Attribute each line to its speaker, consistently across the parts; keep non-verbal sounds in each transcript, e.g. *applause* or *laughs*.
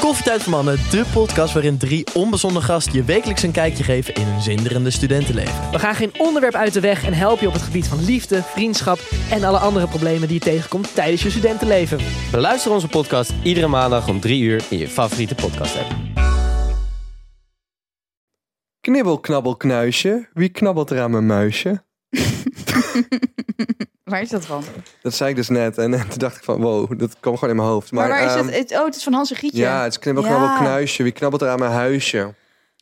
Speaker 1: Koffietijd voor Mannen, de podcast waarin drie onbezonnen gasten je wekelijks een kijkje geven in hun zinderende studentenleven.
Speaker 2: We gaan geen onderwerp uit de weg en helpen je op het gebied van liefde, vriendschap en alle andere problemen die je tegenkomt tijdens je studentenleven.
Speaker 3: Beluister onze podcast iedere maandag om 3 uur in je favoriete podcast app.
Speaker 4: Knibbel, knabbel, knuisje. Wie knabbelt er aan mijn muisje?
Speaker 5: Waar is dat van?
Speaker 4: Dat zei ik dus net. En toen dacht ik van, wow, dat kwam gewoon in mijn hoofd.
Speaker 5: Maar, waar
Speaker 4: ehm,
Speaker 5: is het? het? Oh, het is van Hans en Gietje.
Speaker 4: Ja, het is knibbel, knabbel,
Speaker 5: Ja.
Speaker 4: knuisje. Wie knabbelt er aan mijn huisje?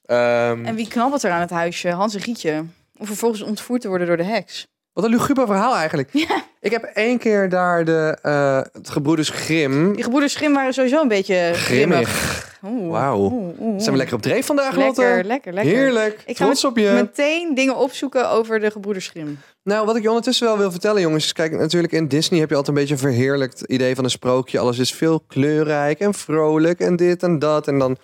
Speaker 4: Ehm,
Speaker 5: En wie knabbelt er aan het huisje? Hans en Gietje. Om vervolgens ontvoerd te worden door de heks.
Speaker 4: Wat een luguber verhaal eigenlijk.
Speaker 5: Ja.
Speaker 4: Ik heb één keer daar de, eh, het gebroeders Grim.
Speaker 5: Die gebroeders Grim waren sowieso een beetje
Speaker 4: Grimmig.
Speaker 5: grimmig. Oeh,
Speaker 4: Wauw.
Speaker 5: oeh, oeh.
Speaker 4: Zijn we lekker op dreef vandaag, Lotte?
Speaker 5: Lekker, lekker, lekker.
Speaker 4: Heerlijk.
Speaker 5: Ik ga
Speaker 4: Trots op je.
Speaker 5: Meteen dingen opzoeken over de gebroeders Grim.
Speaker 4: Nou, wat ik je ondertussen wel wil vertellen, jongens, is kijk, natuurlijk in Disney heb je altijd een beetje een verheerlijkt idee van een sprookje. Alles is veel kleurrijk en vrolijk en dit en dat. En dan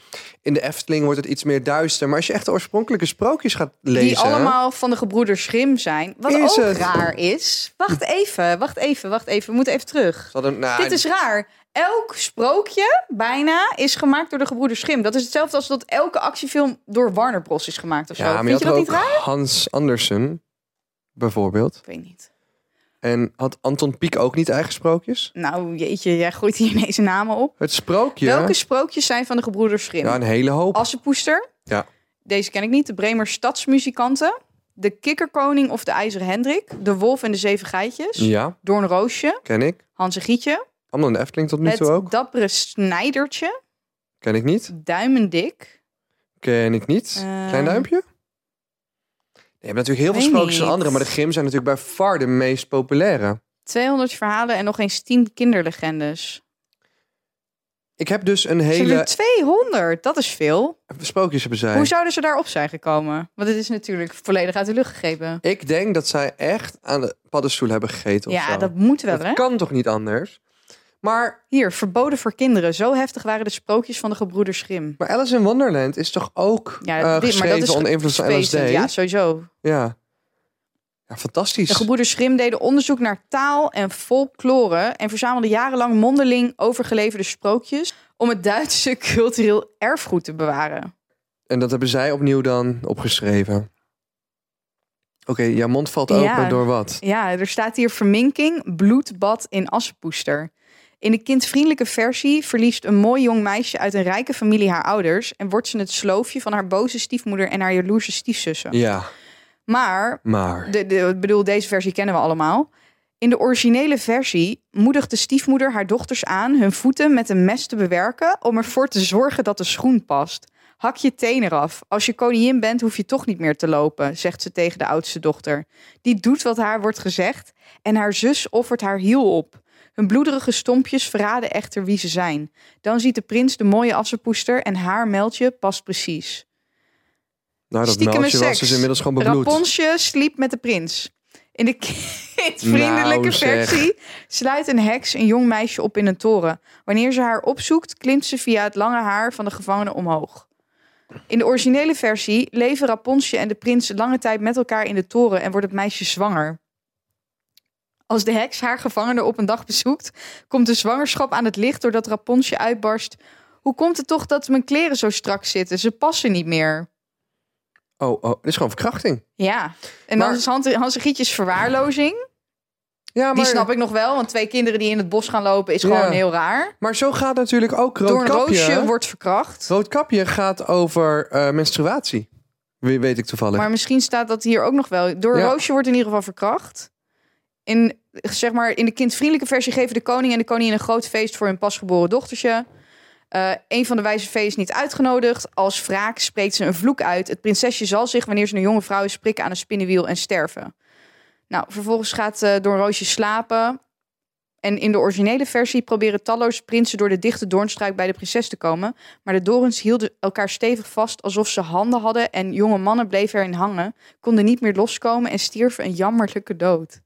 Speaker 4: in de Efteling wordt het iets meer duister. Maar als je echt de oorspronkelijke sprookjes gaat lezen...
Speaker 5: Die allemaal van de gebroeders Grim zijn. Wat
Speaker 4: Is
Speaker 5: ook
Speaker 4: het?
Speaker 5: raar is. Wacht even, wacht even, wacht even. We moeten even terug.
Speaker 4: Ze hadden- nou,
Speaker 5: Dit is raar. Elk sprookje, bijna, is gemaakt door de gebroeders Grimm. Dat is hetzelfde als dat elke actiefilm door Warner Bros. is gemaakt of zo.
Speaker 4: Ja, maar je had
Speaker 5: Vind je
Speaker 4: er
Speaker 5: dat niet
Speaker 4: ook
Speaker 5: raar?
Speaker 4: Hans Andersen, bijvoorbeeld.
Speaker 5: Ik weet niet.
Speaker 4: En had Anton Pieck ook niet eigen sprookjes?
Speaker 5: Nou, jeetje, jij gooit hier *laughs* ineens namen op.
Speaker 4: Het sprookje...
Speaker 5: Welke sprookjes zijn van de gebroeders Grimm?
Speaker 4: ja, een hele hoop.
Speaker 5: Assepoester.
Speaker 4: Ja.
Speaker 5: Deze ken ik niet. De Bremer Stadsmuzikanten. De Kikkerkoning of de IJzeren Hendrik. De Wolf en de Zeven Geitjes.
Speaker 4: Ja,
Speaker 5: Doornroosje.
Speaker 4: ken ik.
Speaker 5: Hans en Gietje.
Speaker 4: Allemaal in de Efteling tot nu
Speaker 5: Het
Speaker 4: toe ook.
Speaker 5: Dappere Snijdertje.
Speaker 4: Ken ik niet.
Speaker 5: Duimendik.
Speaker 4: Ken ik niet.
Speaker 5: Eh,
Speaker 4: Klein duimpje? Je hebt natuurlijk heel veel
Speaker 5: weet
Speaker 4: sprookjes van
Speaker 5: niet.
Speaker 4: anderen, maar de Grim zijn natuurlijk bij far de meest populaire.
Speaker 5: 200 verhalen en nog eens 10 kinderlegendes.
Speaker 4: Ik heb dus een
Speaker 5: Ze hebben
Speaker 4: hele...
Speaker 5: er 200, dat is veel.
Speaker 4: Sprookjes hebben zij.
Speaker 5: Hoe zouden ze daarop zijn gekomen? Want het is natuurlijk volledig uit de lucht gegrepen.
Speaker 4: Ik denk dat zij echt aan de paddenstoel hebben gegeten of
Speaker 5: Ja,
Speaker 4: zo.
Speaker 5: dat moet wel,
Speaker 4: Dat
Speaker 5: hè?
Speaker 4: kan toch niet anders? Maar,
Speaker 5: Hier, verboden voor kinderen. Zo heftig waren de sprookjes van de gebroeders Grimm.
Speaker 4: maar Alice in Wonderland is toch ook
Speaker 5: Ja,
Speaker 4: eh,
Speaker 5: dit- maar dat
Speaker 4: geschreven
Speaker 5: is
Speaker 4: onder invloed van LSD?
Speaker 5: Spacend, Ja,
Speaker 4: Ja.
Speaker 5: sowieso.
Speaker 4: ja. fantastisch.
Speaker 5: De gebroeders Grimm deden onderzoek naar taal en folklore... en verzamelden jarenlang mondeling overgeleverde sprookjes... om het Duitse *laughs* cultureel erfgoed te bewaren.
Speaker 4: En dat hebben zij opnieuw dan opgeschreven. Oké, jouw mond valt open
Speaker 5: Ja.
Speaker 4: door wat?
Speaker 5: Ja, er staat hier verminking, bloedbad in assenpoester. In de kindvriendelijke versie verliest een mooi jong meisje uit een rijke familie haar ouders en wordt ze het sloofje van haar boze stiefmoeder en haar jaloerse stiefzussen.
Speaker 4: Ja,
Speaker 5: Maar,
Speaker 4: maar...
Speaker 5: de, de, ik bedoel, deze versie kennen we allemaal. In de originele versie moedigt de stiefmoeder haar dochters aan hun voeten met een mes te bewerken om ervoor te zorgen dat de schoen past. Hak je teen eraf. Als je koningin bent, hoef je toch niet meer te lopen, zegt ze tegen de oudste dochter. Die doet wat haar wordt gezegd en haar zus offert haar hiel op. Hun bloederige stompjes verraden echter wie ze zijn. Dan ziet de prins de mooie assenpoester en haar meldje past precies.
Speaker 4: Nou, dat
Speaker 5: Stiekeme
Speaker 4: meldje was
Speaker 5: seks.
Speaker 4: dus inmiddels gewoon bebloed.
Speaker 5: Raponsje sliep met de prins. In de *laughs* kindvriendelijke
Speaker 4: Nou, zeg.
Speaker 5: versie sluit een heks een jong meisje op in een toren. Wanneer ze haar opzoekt, klimt ze via het lange haar van de gevangene omhoog. In de originele versie leven Raponsje en de prins lange tijd met elkaar in de toren en wordt het meisje zwanger. Als de heks haar gevangene op een dag bezoekt, komt de zwangerschap aan het licht doordat Raponsje uitbarst. Hoe komt het toch dat mijn kleren zo strak zitten? Ze passen niet meer.
Speaker 4: Oh, oh, dit is gewoon verkrachting.
Speaker 5: Ja, en
Speaker 4: Maar-
Speaker 5: dan is Hans, Hans en Gietjes verwaarlozing.
Speaker 4: Ja, maar,
Speaker 5: Die snap ik nog wel, want twee kinderen die in het bos gaan lopen is gewoon
Speaker 4: Ja.
Speaker 5: heel raar.
Speaker 4: maar zo gaat natuurlijk ook
Speaker 5: Door een roosje
Speaker 4: Roodkapje.
Speaker 5: wordt verkracht.
Speaker 4: Roodkapje gaat over eh, menstruatie. Wie weet ik toevallig.
Speaker 5: Maar misschien staat dat hier ook nog wel. Door een
Speaker 4: Ja.
Speaker 5: roosje wordt in ieder geval verkracht. In, zeg maar, in de kindvriendelijke versie geven de koning en de koningin een groot feest voor hun pasgeboren dochtertje. Eh, een van de wijze feeën is niet uitgenodigd. Als wraak spreekt ze een vloek uit. Het prinsesje zal zich, wanneer ze een jonge vrouw is, prikken aan een spinnenwiel en sterven. Nou, vervolgens gaat eh Doornroosje slapen. En in de originele versie proberen talloze prinsen door de dichte doornstruik bij de prinses te komen. Maar de dorens hielden elkaar stevig vast alsof ze handen hadden. En jonge mannen bleven erin hangen, konden niet meer loskomen en stierven een jammerlijke dood.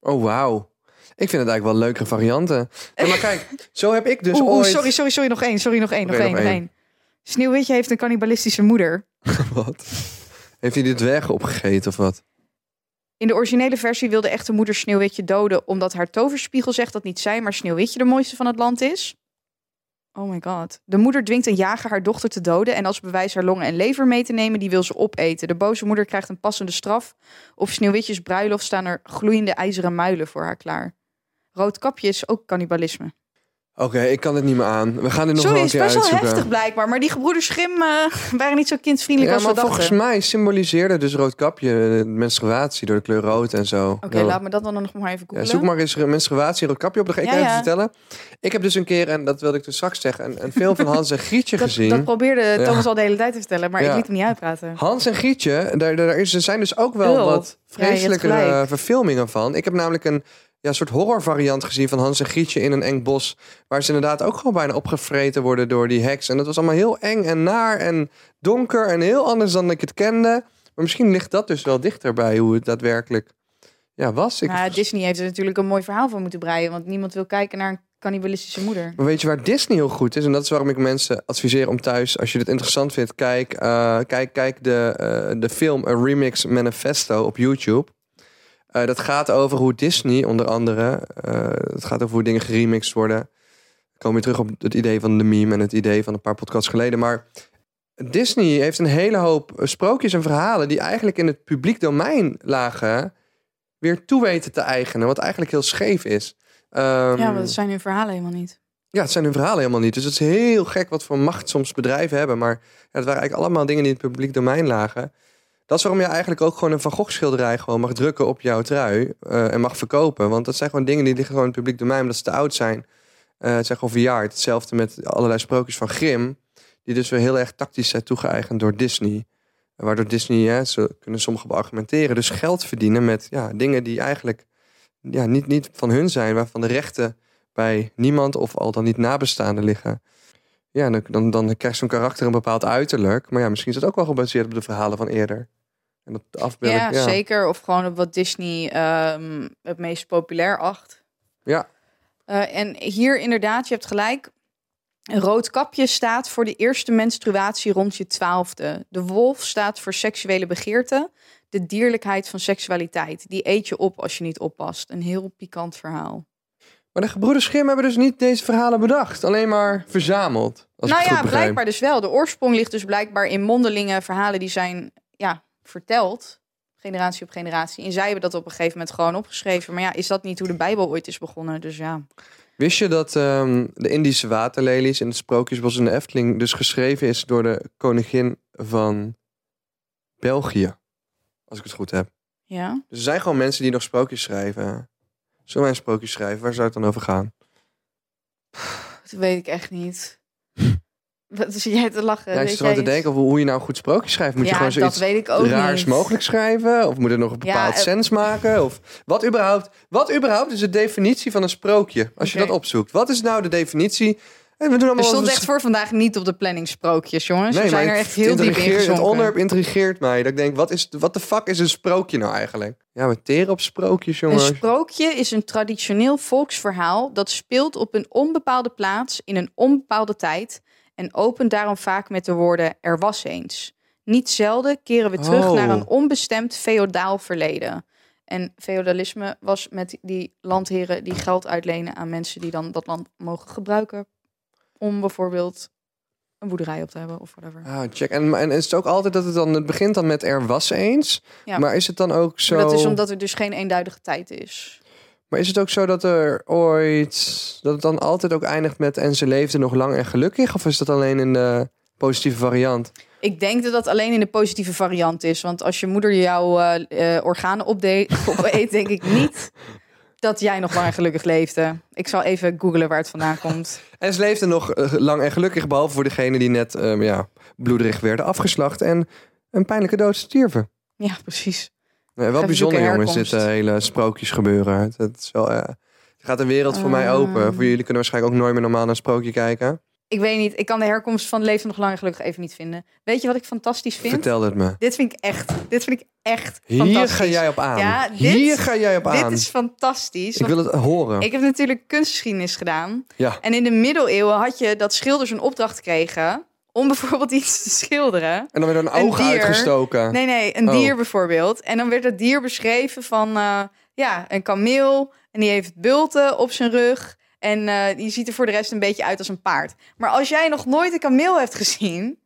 Speaker 4: Oh, wauw. Ik vind het eigenlijk wel leukere varianten. Nee, maar
Speaker 5: *laughs*
Speaker 4: kijk, zo heb ik dus
Speaker 5: Oeh, oeh,
Speaker 4: ooit...
Speaker 5: sorry, sorry, sorry, nog één. Sorry, nog één,
Speaker 4: Oké,
Speaker 5: nog één,
Speaker 4: nog
Speaker 5: nog één. Sneeuwwitje heeft een cannibalistische moeder.
Speaker 4: *laughs* Wat? Heeft hij dit weg opgegeten of wat?
Speaker 5: In de originele versie wil de echte moeder Sneeuwwitje doden... omdat haar toverspiegel zegt dat niet zij, maar Sneeuwwitje de mooiste van het land is. Oh my god. De moeder dwingt een jager haar dochter te doden... en als bewijs haar longen en lever mee te nemen, die wil ze opeten. De boze moeder krijgt een passende straf. Op Sneeuwwitjes bruiloft staan er gloeiende ijzeren muilen voor haar klaar. Roodkapje is ook cannibalisme.
Speaker 4: Oké, ik kan dit niet meer aan. We gaan dit nog wel
Speaker 5: Sorry,
Speaker 4: een
Speaker 5: is
Speaker 4: keer
Speaker 5: best wel
Speaker 4: uitzoeken.
Speaker 5: heftig blijkbaar. Maar die gebroeders Schim eh, waren niet zo kindvriendelijk
Speaker 4: Ja,
Speaker 5: als we
Speaker 4: maar
Speaker 5: dachten.
Speaker 4: volgens mij symboliseerde dus roodkapje eh, menstruatie door de kleur rood en zo.
Speaker 5: Oké, laat me dat dan nog maar even
Speaker 4: Ja,
Speaker 5: googlen.
Speaker 4: zoek maar eens menstruatie roodkapje op. Dan ga ik
Speaker 5: Ja,
Speaker 4: even
Speaker 5: ja.
Speaker 4: vertellen. Ik heb dus een keer, en dat wilde ik dus straks zeggen, een, een film van Hans en Grietje
Speaker 5: *laughs* dat,
Speaker 4: gezien.
Speaker 5: dat probeerde
Speaker 4: Ja.
Speaker 5: Thomas al de hele tijd te vertellen, maar
Speaker 4: Ja.
Speaker 5: ik liet hem niet uitpraten.
Speaker 4: Hans en Grietje, daar, daar is, er zijn dus ook wel
Speaker 5: Ew.
Speaker 4: wat
Speaker 5: Ja, je hebt
Speaker 4: vreselijke
Speaker 5: gelijk.
Speaker 4: eh, verfilmingen van. Ik heb namelijk een ja, soort horrorvariant gezien van Hans en Grietje in een eng bos. Waar ze inderdaad ook gewoon bijna opgevreten worden door die heks. En dat was allemaal heel eng en naar en donker en heel anders dan ik het kende. Maar misschien ligt dat dus wel dichter bij hoe het daadwerkelijk ja, was. Ik,
Speaker 5: Nou, ja, Disney heeft er natuurlijk een mooi verhaal van moeten breien, want niemand wil kijken naar een cannibalistische moeder.
Speaker 4: Maar weet je waar Disney heel goed is? En dat is waarom ik mensen adviseer om thuis, als je dit interessant vindt, kijk, eh, kijk, kijk de, eh, de film A Remix Manifesto op YouTube. Eh, dat gaat over hoe Disney, onder andere, eh, het gaat over hoe dingen geremixed worden. Ik kom weer terug op het idee van de meme en het idee van een paar podcasts geleden. Maar Disney heeft een hele hoop eh, sprookjes en verhalen die eigenlijk in het publiek domein lagen, weer toe weten te eigenen. Wat eigenlijk heel scheef is. Ehm,
Speaker 5: ja, maar dat zijn hun verhalen helemaal niet.
Speaker 4: ja, het zijn hun verhalen helemaal niet. Dus het is heel gek wat voor macht soms bedrijven hebben. Maar ja, het waren eigenlijk allemaal dingen die in het publiek domein lagen. Dat is waarom je eigenlijk ook gewoon een Van Gogh schilderij gewoon mag drukken op jouw trui. eh, en mag verkopen. Want dat zijn gewoon dingen die liggen gewoon in het publiek domein. Omdat ze te oud zijn. Eh, het zijn gewoon verjaard. Hetzelfde met allerlei sprookjes van Grimm. Die dus weer heel erg tactisch zijn toegeëigend door Disney. En waardoor Disney, hè, ze kunnen sommigen argumenteren. Dus geld verdienen met ja, dingen die eigenlijk ja, niet, niet van hun zijn. Waarvan de rechten bij niemand of al dan niet nabestaanden liggen. Ja, dan, dan, dan krijgt zo'n karakter een bepaald uiterlijk. Maar ja, misschien is dat ook wel gebaseerd op de verhalen van eerder. En op de afbeelding.
Speaker 5: Ja, zeker. Of gewoon op wat Disney ehm, het meest populair acht.
Speaker 4: Ja.
Speaker 5: Eh, en hier inderdaad, je hebt gelijk. Een Rood kapje staat voor de eerste menstruatie rond je twaalfde. De wolf staat voor seksuele begeerte. De dierlijkheid van seksualiteit. Die eet je op als je niet oppast. Een heel pikant verhaal.
Speaker 4: Maar de gebroeders Grimm hebben dus niet deze verhalen bedacht. Alleen maar verzameld. Als
Speaker 5: nou
Speaker 4: ik het
Speaker 5: ja,
Speaker 4: goed begrijp.
Speaker 5: blijkbaar dus wel. De oorsprong ligt dus blijkbaar in mondelingen verhalen die zijn ja, verteld. Generatie op generatie. En zij hebben dat op een gegeven moment gewoon opgeschreven. Maar ja, is dat niet hoe de Bijbel ooit is begonnen? Dus ja.
Speaker 4: Wist je dat ehm, de Indische waterlelies in het Sprookjesbos in de Efteling... dus geschreven is door de koningin van België. Als ik het goed heb.
Speaker 5: ja.
Speaker 4: Dus er zijn gewoon mensen die nog sprookjes schrijven. Zullen wij een sprookje schrijven? Waar zou het dan over gaan?
Speaker 5: Dat weet ik echt *laughs* niet. Wat zit jij te
Speaker 4: Ja,
Speaker 5: lachen?
Speaker 4: ik
Speaker 5: Eh, Weet
Speaker 4: zit gewoon te
Speaker 5: jij iets?
Speaker 4: denken over hoe je nou een goed sprookje schrijft. Moet
Speaker 5: ja,
Speaker 4: je gewoon
Speaker 5: dat
Speaker 4: zoiets
Speaker 5: weet ik ook
Speaker 4: raars
Speaker 5: niet.
Speaker 4: mogelijk schrijven? Of moet het nog een
Speaker 5: Ja,
Speaker 4: bepaald
Speaker 5: eh,
Speaker 4: sens maken? Of wat überhaupt, wat überhaupt is de definitie van een sprookje? Als je
Speaker 5: Oké.
Speaker 4: dat opzoekt. Wat is nou de definitie? En we doen
Speaker 5: Er
Speaker 4: allemaal
Speaker 5: stond
Speaker 4: wat-
Speaker 5: echt voor vandaag niet op de planning sprookjes, jongens.
Speaker 4: Nee,
Speaker 5: We zijn
Speaker 4: maar
Speaker 5: er
Speaker 4: ik-
Speaker 5: echt heel diep in
Speaker 4: intrigeert- Het
Speaker 5: gezonken.
Speaker 4: onderwerp intrigeert mij. Dat ik denk, wat, is, wat de fuck is een sprookje nou eigenlijk? Ja, we teren op sprookjes,
Speaker 5: Een
Speaker 4: jongens.
Speaker 5: sprookje is een traditioneel volksverhaal dat speelt op een onbepaalde plaats in een onbepaalde tijd en opent daarom vaak met de woorden er was eens. Niet zelden keren we terug
Speaker 4: Oh.
Speaker 5: naar een onbestemd feodaal verleden. En feodalisme was met die landheren die geld uitlenen aan mensen die dan dat land mogen gebruiken om bijvoorbeeld een boerderij op te hebben of whatever.
Speaker 4: Ah, check. En, en is het ook altijd dat het dan... Het begint dan met er was eens.
Speaker 5: Ja.
Speaker 4: Maar is het dan ook zo...
Speaker 5: Maar dat is omdat er dus geen eenduidige tijd is.
Speaker 4: Maar is het ook zo dat er ooit. dat het dan altijd ook eindigt met. en ze leefde nog lang en gelukkig? Of is dat alleen in de positieve variant?
Speaker 5: Ik denk dat dat alleen in de positieve variant is. Want als je moeder jouw eh, eh, organen opde- *laughs* opeet, denk ik niet dat jij nog lang gelukkig leefde. Ik zal even googlen waar het vandaan komt.
Speaker 4: En ze leefde nog eh, lang en gelukkig. behalve voor degene die net. ehm, ja, bloederig werden afgeslacht. en een pijnlijke dood stierven.
Speaker 5: Ja, precies.
Speaker 4: Nee, Eh, wel
Speaker 5: Even
Speaker 4: bijzonder,
Speaker 5: zoeken
Speaker 4: jongens, dit
Speaker 5: herkomst.
Speaker 4: eh, hele sprookjesgebeuren. Het is wel. eh, Er gaat de wereld voor mij open.
Speaker 5: Ah.
Speaker 4: Voor jullie kunnen waarschijnlijk ook nooit meer normaal naar een sprookje kijken.
Speaker 5: Ik weet niet, ik kan de herkomst van Leefde nog lang en gelukkig even niet vinden. Weet je wat ik fantastisch vind?
Speaker 4: Vertel het me.
Speaker 5: Dit vind ik echt, dit vind ik echt
Speaker 4: Hier
Speaker 5: fantastisch.
Speaker 4: ga jij op aan.
Speaker 5: Ja, dit-
Speaker 4: Hier ga jij op aan.
Speaker 5: Dit is fantastisch.
Speaker 4: Ik
Speaker 5: want
Speaker 4: wil het horen.
Speaker 5: ik heb natuurlijk kunstgeschiedenis gedaan.
Speaker 4: Ja.
Speaker 5: En in de middeleeuwen had je dat schilders een opdracht kregen om bijvoorbeeld iets te schilderen.
Speaker 4: En dan werd er een
Speaker 5: Een
Speaker 4: oog
Speaker 5: dier.
Speaker 4: uitgestoken.
Speaker 5: Nee, nee, een
Speaker 4: Oh.
Speaker 5: dier bijvoorbeeld. En dan werd dat dier beschreven van eh, ja, een kameel. En die heeft bulten op zijn rug. En eh, die ziet er voor de rest een beetje uit als een paard. Maar als jij nog nooit een kameel hebt gezien,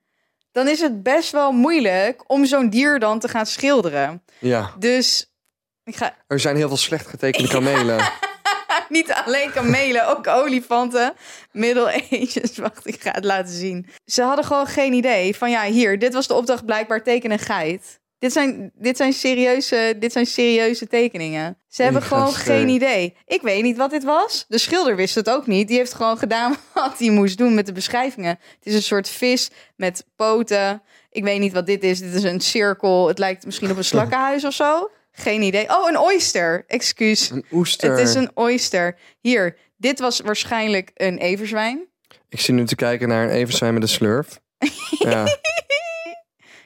Speaker 5: dan is het best wel moeilijk om zo'n dier dan te gaan schilderen.
Speaker 4: Ja.
Speaker 5: Dus ik ga
Speaker 4: Er zijn heel veel slecht getekende kamelen.
Speaker 5: *laughs* niet alleen kamelen, ook olifanten. Middle Ages, wacht, ik ga het laten zien. Ze hadden gewoon geen idee van ja, hier, dit was de opdracht blijkbaar teken een geit. Dit zijn, dit, zijn serieuze, dit zijn serieuze tekeningen. Ze hebben
Speaker 4: Ik ga
Speaker 5: gewoon
Speaker 4: schreeuwen.
Speaker 5: geen idee. Ik weet niet wat dit was. De schilder wist het ook niet. Die heeft gewoon gedaan *laughs* wat hij moest doen met de beschrijvingen. Het is een soort vis met poten. Ik weet niet wat dit is. Dit is een cirkel. Het lijkt misschien
Speaker 4: *laughs*
Speaker 5: op een slakkenhuis of zo. Geen idee. Oh, een oyster. Excuus.
Speaker 4: Een oester.
Speaker 5: Het is een oyster. Hier, dit was waarschijnlijk een everzwijn. *laughs*
Speaker 4: Ik zie nu te kijken naar een everzwijn met een slurf.
Speaker 5: *laughs*
Speaker 4: ja,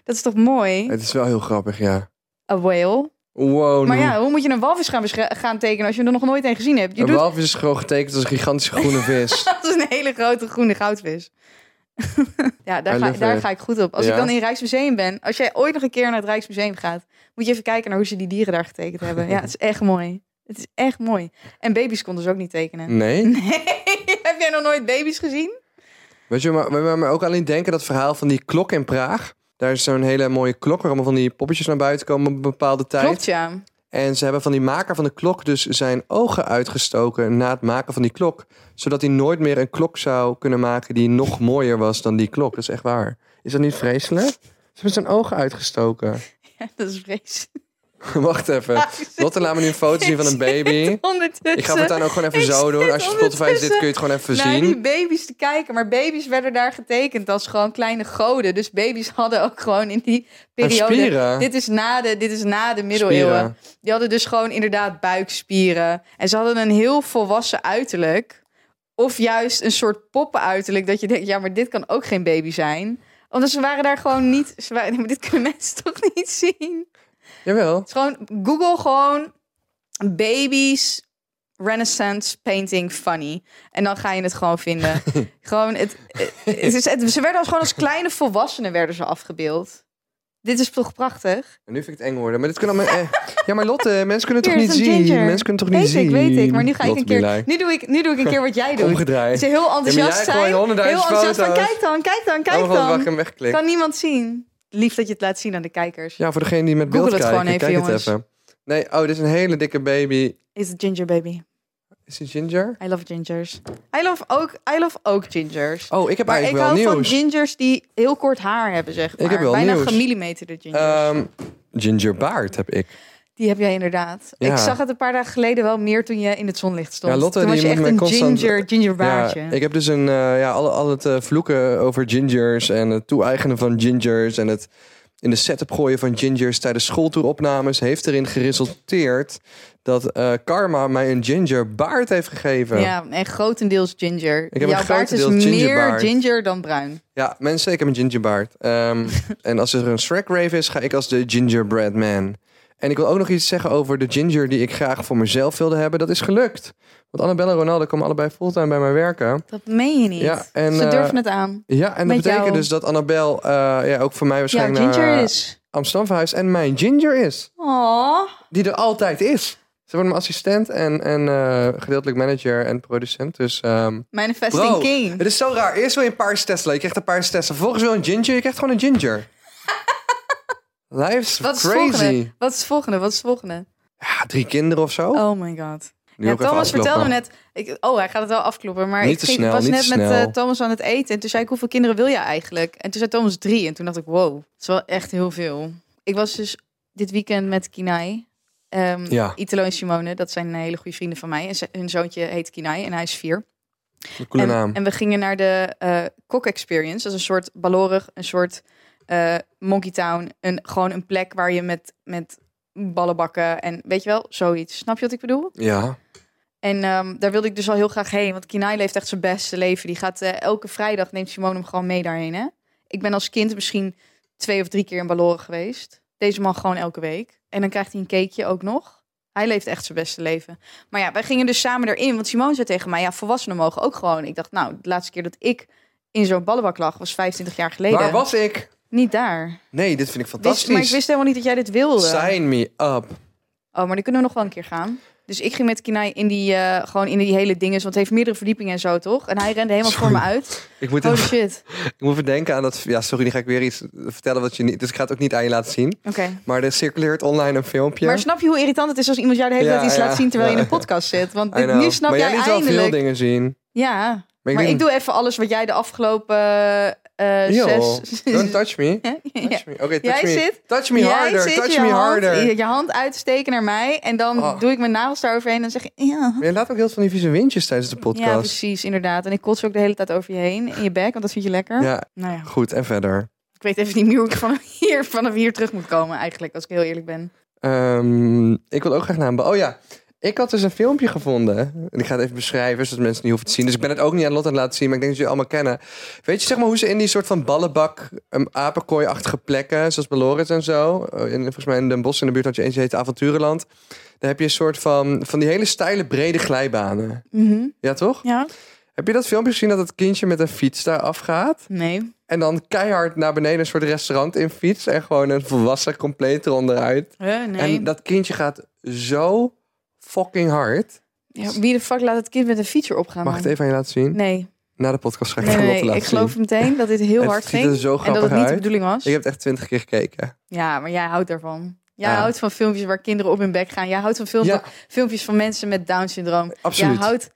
Speaker 5: Dat is toch mooi?
Speaker 4: het Oh, is wel heel grappig, ja.
Speaker 5: A whale.
Speaker 4: Wow,
Speaker 5: Maar
Speaker 4: nu-
Speaker 5: ja, hoe moet je een walvis gaan, beschre- gaan tekenen als je er nog nooit een gezien hebt? Je
Speaker 4: een
Speaker 5: doet
Speaker 4: walvis is gewoon getekend als een gigantische groene vis.
Speaker 5: *laughs* dat als een hele grote groene goudvis. *laughs* ja, daar
Speaker 4: I
Speaker 5: ga,
Speaker 4: love
Speaker 5: daar
Speaker 4: it.
Speaker 5: ga ik goed op. Als
Speaker 4: Ja.
Speaker 5: ik dan in Rijksmuseum ben, als jij ooit nog een keer naar het Rijksmuseum gaat, moet je even kijken naar hoe ze die dieren daar getekend hebben. Ja, het is echt mooi. Het is echt mooi. En baby's konden ze ook niet tekenen. *laughs*
Speaker 4: Nee?
Speaker 5: Heb jij nog nooit baby's gezien?
Speaker 4: Weet je, maar, maar, maar ook alleen denken dat verhaal van die klok in Praag. Daar is zo'n hele mooie klok waar allemaal van die poppetjes naar buiten komen op een bepaalde tijd.
Speaker 5: Klopt ja. *laughs*
Speaker 4: En ze hebben van die maker van de klok dus zijn ogen uitgestoken na het maken van die klok. Zodat hij nooit meer een klok zou kunnen maken die nog mooier was dan die klok. Dat is echt waar. Is dat niet vreselijk? Ze hebben zijn ogen uitgestoken.
Speaker 5: Ja, dat is vreselijk.
Speaker 4: *laughs* Wacht even. Lotte laat me nu een foto zien *laughs* van een baby.
Speaker 5: *laughs* Ondertussen.
Speaker 4: Ik ga het dan ook gewoon even
Speaker 5: Ik
Speaker 4: zo doen.
Speaker 5: zit
Speaker 4: Als je Spotify zit, kun je het gewoon even
Speaker 5: naar die
Speaker 4: zien.
Speaker 5: baby's te kijken. Maar baby's werden daar getekend als gewoon kleine goden. Dus baby's *laughs* hadden ook gewoon in die
Speaker 4: En
Speaker 5: periode...
Speaker 4: spieren.
Speaker 5: Dit is, na de, dit is na de middeleeuwen.
Speaker 4: Spieren.
Speaker 5: Die hadden dus gewoon inderdaad buikspieren. En ze hadden een heel volwassen uiterlijk. Of juist een soort poppenuiterlijk. Dat je denkt, ja, maar dit kan ook geen baby zijn. Omdat ze waren daar gewoon niet... Ze waren, *laughs* nee, maar dit kunnen mensen toch niet zien?
Speaker 4: Jawel.
Speaker 5: Het is gewoon Google gewoon baby's renaissance painting funny. En dan ga je het gewoon
Speaker 4: *laughs*
Speaker 5: vinden. gewoon het, het is, het- ze werden als gewoon als kleine volwassenen werden ze afgebeeld. Dit is toch prachtig?
Speaker 4: En nu vind ik het eng worden. Maar dit kan allemaal... eh, Ja, maar Lotte, mensen kunnen het toch
Speaker 5: Hier
Speaker 4: niet
Speaker 5: is een
Speaker 4: zien?
Speaker 5: ginger.
Speaker 4: Mensen kunnen het toch niet
Speaker 5: Weet
Speaker 4: zien?
Speaker 5: ik, weet ik. Maar nu ga ik
Speaker 4: Lotte
Speaker 5: een keer...
Speaker 4: Bilij.
Speaker 5: Nu doe ik, nu doe ik een keer wat jij doet.
Speaker 4: Omgedraaid.
Speaker 5: Ze heel enthousiast
Speaker 4: jij gooit
Speaker 5: zijn. Heel
Speaker 4: honderdduizend
Speaker 5: enthousiast van
Speaker 4: foto's.
Speaker 5: kijk dan, kijk dan,
Speaker 4: Oh
Speaker 5: kijk
Speaker 4: mijn god, wacht, ik
Speaker 5: dan.
Speaker 4: hem wegklik.
Speaker 5: Kan niemand zien. Lief dat je het laat zien aan de kijkers.
Speaker 4: Ja, voor degene die met
Speaker 5: Google
Speaker 4: beeld
Speaker 5: het
Speaker 4: kijken.
Speaker 5: gewoon even,
Speaker 4: kijk
Speaker 5: jongens.
Speaker 4: het even. Nee, oh, dit is een hele dikke baby.
Speaker 5: Is het ginger baby?
Speaker 4: Is het ginger?
Speaker 5: I love gingers. I love ook, I love ook gingers.
Speaker 4: Oh, ik heb
Speaker 5: Maar ik
Speaker 4: eigenlijk
Speaker 5: hou
Speaker 4: wel
Speaker 5: van
Speaker 4: nieuws.
Speaker 5: gingers die heel kort haar hebben, zeg maar.
Speaker 4: heb wel
Speaker 5: Bijna
Speaker 4: nieuws.
Speaker 5: gemillimeterde gingers.
Speaker 4: Ehm gingerbaard heb ik.
Speaker 5: die heb jij inderdaad.
Speaker 4: ja.
Speaker 5: Ik zag het een paar dagen geleden wel meer toen je in het zonlicht stond.
Speaker 4: Ja, Lotte,
Speaker 5: toen was
Speaker 4: die
Speaker 5: je echt
Speaker 4: moet
Speaker 5: een
Speaker 4: mij constant-
Speaker 5: ginger, gingerbaardje.
Speaker 4: Ja, ik heb dus een, eh, ja, al, al het eh, vloeken over gingers en het toe-eigenen van gingers en het in de setup gooien van gingers tijdens schooltoeropnames heeft erin geresulteerd dat eh, karma mij een gingerbaard heeft gegeven.
Speaker 5: Ja, en grotendeels ginger.
Speaker 4: heb een
Speaker 5: Jouw baard is
Speaker 4: grotendeels
Speaker 5: meer
Speaker 4: gingerbaard.
Speaker 5: ginger dan bruin.
Speaker 4: Ja, mensen, ik heb een gingerbaard. Ehm, en als er een Shrek rave is, ga ik als de gingerbread man. En ik wil ook nog iets zeggen over de ginger die ik graag voor mezelf wilde hebben. Dat is gelukt. Want Annabelle en Ronaldo komen allebei fulltime bij mij werken.
Speaker 5: Dat meen je niet.
Speaker 4: Ja, en,
Speaker 5: Ze
Speaker 4: eh,
Speaker 5: durven het aan.
Speaker 4: Ja, en dat
Speaker 5: Met
Speaker 4: betekent
Speaker 5: jou.
Speaker 4: dus dat Annabel eh, ja, ook voor mij
Speaker 5: Jouw
Speaker 4: waarschijnlijk
Speaker 5: ginger
Speaker 4: naar
Speaker 5: is...
Speaker 4: Amsterdam verhuist. En mijn ginger is.
Speaker 5: Oh,
Speaker 4: Die er altijd is. Ze wordt mijn assistent en, en eh, gedeeltelijk manager en producent. Dus ehm,
Speaker 5: manifesting
Speaker 4: bro,
Speaker 5: king.
Speaker 4: het is zo raar. Eerst wil je een paars Tesla. Je krijgt een paars Tesla. Vervolgens wil je een ginger. Je krijgt gewoon een
Speaker 5: *laughs*
Speaker 4: ginger. Life's
Speaker 5: Wat is, het
Speaker 4: crazy.
Speaker 5: volgende? Wat is het volgende? Wat is het volgende?
Speaker 4: Ja, drie kinderen of zo.
Speaker 5: Oh my god.
Speaker 4: Nu
Speaker 5: Ja,
Speaker 4: ook even
Speaker 5: Thomas vertelde
Speaker 4: afkloppen.
Speaker 5: me net. Ik, oh, hij gaat het wel afkloppen. Maar
Speaker 4: Niet
Speaker 5: ik
Speaker 4: te
Speaker 5: ging,
Speaker 4: snel,
Speaker 5: was
Speaker 4: niet
Speaker 5: net
Speaker 4: te
Speaker 5: met
Speaker 4: snel.
Speaker 5: eh, Thomas aan het eten. En toen zei ik: Hoeveel kinderen wil je eigenlijk? En toen zei Thomas drie. En toen dacht ik: Wow, dat is wel echt heel veel. Ik was dus dit weekend met Kinai. ehm,
Speaker 4: Ja.
Speaker 5: Italo en Simone, dat zijn eh, hele goede vrienden van mij. En ze- hun zoontje heet Kinai en hij is vier.
Speaker 4: Een coole
Speaker 5: en,
Speaker 4: naam.
Speaker 5: en we gingen naar de eh Kok Experience. Dat is een soort balorig, een soort eh, Monkey Town. Een, gewoon een plek waar je met, met ballenbakken en weet je wel, zoiets. Snap je wat ik bedoel?
Speaker 4: ja.
Speaker 5: En ehm, daar wilde ik dus al heel graag heen. Want Kinai leeft echt zijn beste leven. Die gaat eh, elke vrijdag neemt Simone hem gewoon mee daarheen. Hè? Ik ben als kind misschien twee of drie keer in Balloren geweest. Deze man gewoon elke week. En dan krijgt hij een cakeje ook nog. Hij leeft echt zijn beste leven. Maar ja, wij gingen dus samen erin. Want Simone zei tegen mij, ja, volwassenen mogen ook gewoon. Ik dacht, nou, de laatste keer dat ik in zo'n ballenbak lag, was 25 jaar geleden.
Speaker 4: Waar was ik?
Speaker 5: Niet daar.
Speaker 4: Nee, dit vind ik
Speaker 5: Wist,
Speaker 4: fantastisch.
Speaker 5: maar ik wist helemaal niet dat jij dit wilde.
Speaker 4: Sign me up.
Speaker 5: Oh, maar dan kunnen we nog wel een keer gaan. Dus ik ging met Kinai in die, eh, gewoon in die hele dingen. Want het heeft meerdere verdiepingen en zo, toch? En hij rende helemaal voor me uit.
Speaker 4: Ik moet,
Speaker 5: Holy
Speaker 4: even,
Speaker 5: shit.
Speaker 4: ik moet even denken aan dat... Ja, sorry, nu ga ik weer iets vertellen wat je niet... Dus ik ga het ook niet aan je laten zien.
Speaker 5: Oké.
Speaker 4: Maar er circuleert online een filmpje.
Speaker 5: Maar snap je hoe irritant het is als iemand jou de hele
Speaker 4: Ja,
Speaker 5: tijd iets
Speaker 4: ja,
Speaker 5: laat zien terwijl je
Speaker 4: ja.
Speaker 5: in een podcast zit? Want
Speaker 4: I
Speaker 5: dit,
Speaker 4: know.
Speaker 5: nu snap
Speaker 4: maar
Speaker 5: jij,
Speaker 4: liet wel
Speaker 5: eindelijk.
Speaker 4: veel dingen zien.
Speaker 5: Ja,
Speaker 4: Maar ik
Speaker 5: maar
Speaker 4: doe-
Speaker 5: ik doe even alles wat jij de afgelopen eh,
Speaker 4: Yo,
Speaker 5: zes... *laughs*
Speaker 4: Don't touch me.
Speaker 5: Ja.
Speaker 4: Touch me. Oké, touch
Speaker 5: Jij
Speaker 4: me.
Speaker 5: zit-
Speaker 4: touch me
Speaker 5: Jij
Speaker 4: harder.
Speaker 5: zit
Speaker 4: Touch
Speaker 5: je
Speaker 4: me
Speaker 5: hand-
Speaker 4: harder.
Speaker 5: Je, je hand uit te steken naar mij en dan
Speaker 4: Oh.
Speaker 5: doe ik mijn nagels daaroverheen en dan zeg je... Ja.
Speaker 4: Maar je laat ook heel veel van die vieze windjes tijdens de
Speaker 5: ja,
Speaker 4: podcast.
Speaker 5: precies, inderdaad. En ik kots ook de hele tijd over je heen in je bek, want dat vind je lekker. Nou ja,
Speaker 4: goed. En verder.
Speaker 5: ik weet even niet meer hoe ik vanaf *laughs* hier, vanaf hier terug moet komen eigenlijk, als ik heel eerlijk ben.
Speaker 4: Ehm, ik wil ook graag naar een... ba- Oh ja. Ik had dus een filmpje gevonden. En ik ga het even beschrijven, zodat mensen het niet hoeven te zien. Dus ik ben het ook niet aan Lot aan het laten zien, maar ik denk dat jullie het allemaal kennen. Weet je zeg maar hoe ze in die soort van ballenbak, um, apenkooi-achtige plekken, zoals Beloris en zo. eh, In, volgens mij in Den Bosch in de buurt had je eentje heet Avonturenland. Daar heb je een soort van, van die hele steile, brede glijbanen. Mhm. Ja, toch?
Speaker 5: Ja?
Speaker 4: Heb je dat filmpje gezien dat het kindje met een fiets daar afgaat?
Speaker 5: Nee.
Speaker 4: En dan keihard naar beneden een soort restaurant in fiets. En gewoon een volwassen compleet eronderuit.
Speaker 5: Eh, nee.
Speaker 4: En dat kindje gaat zo fucking hard.
Speaker 5: Ja, wie de fuck laat het kind met een fiets erop gaan?
Speaker 4: Mag ik het
Speaker 5: man?
Speaker 4: even aan je laten zien?
Speaker 5: Nee,
Speaker 4: Na de podcast ga ik
Speaker 5: nee,
Speaker 4: het aan
Speaker 5: nee,
Speaker 4: Lotte laten
Speaker 5: ik geloof
Speaker 4: zien.
Speaker 5: meteen dat dit heel
Speaker 4: Het
Speaker 5: hard
Speaker 4: ziet
Speaker 5: ging
Speaker 4: er zo
Speaker 5: en dat het
Speaker 4: grappig
Speaker 5: niet de
Speaker 4: uit.
Speaker 5: bedoelig was.
Speaker 4: Ik heb het echt twintig keer gekeken.
Speaker 5: Ja, maar jij houdt daarvan. Jij
Speaker 4: Ja.
Speaker 5: houdt van filmpjes waar kinderen op hun bek gaan. Jij houdt van filmpjes,
Speaker 4: Ja.
Speaker 5: filmpjes van mensen met Down-syndroom.
Speaker 4: Absoluut.
Speaker 5: Jij houdt,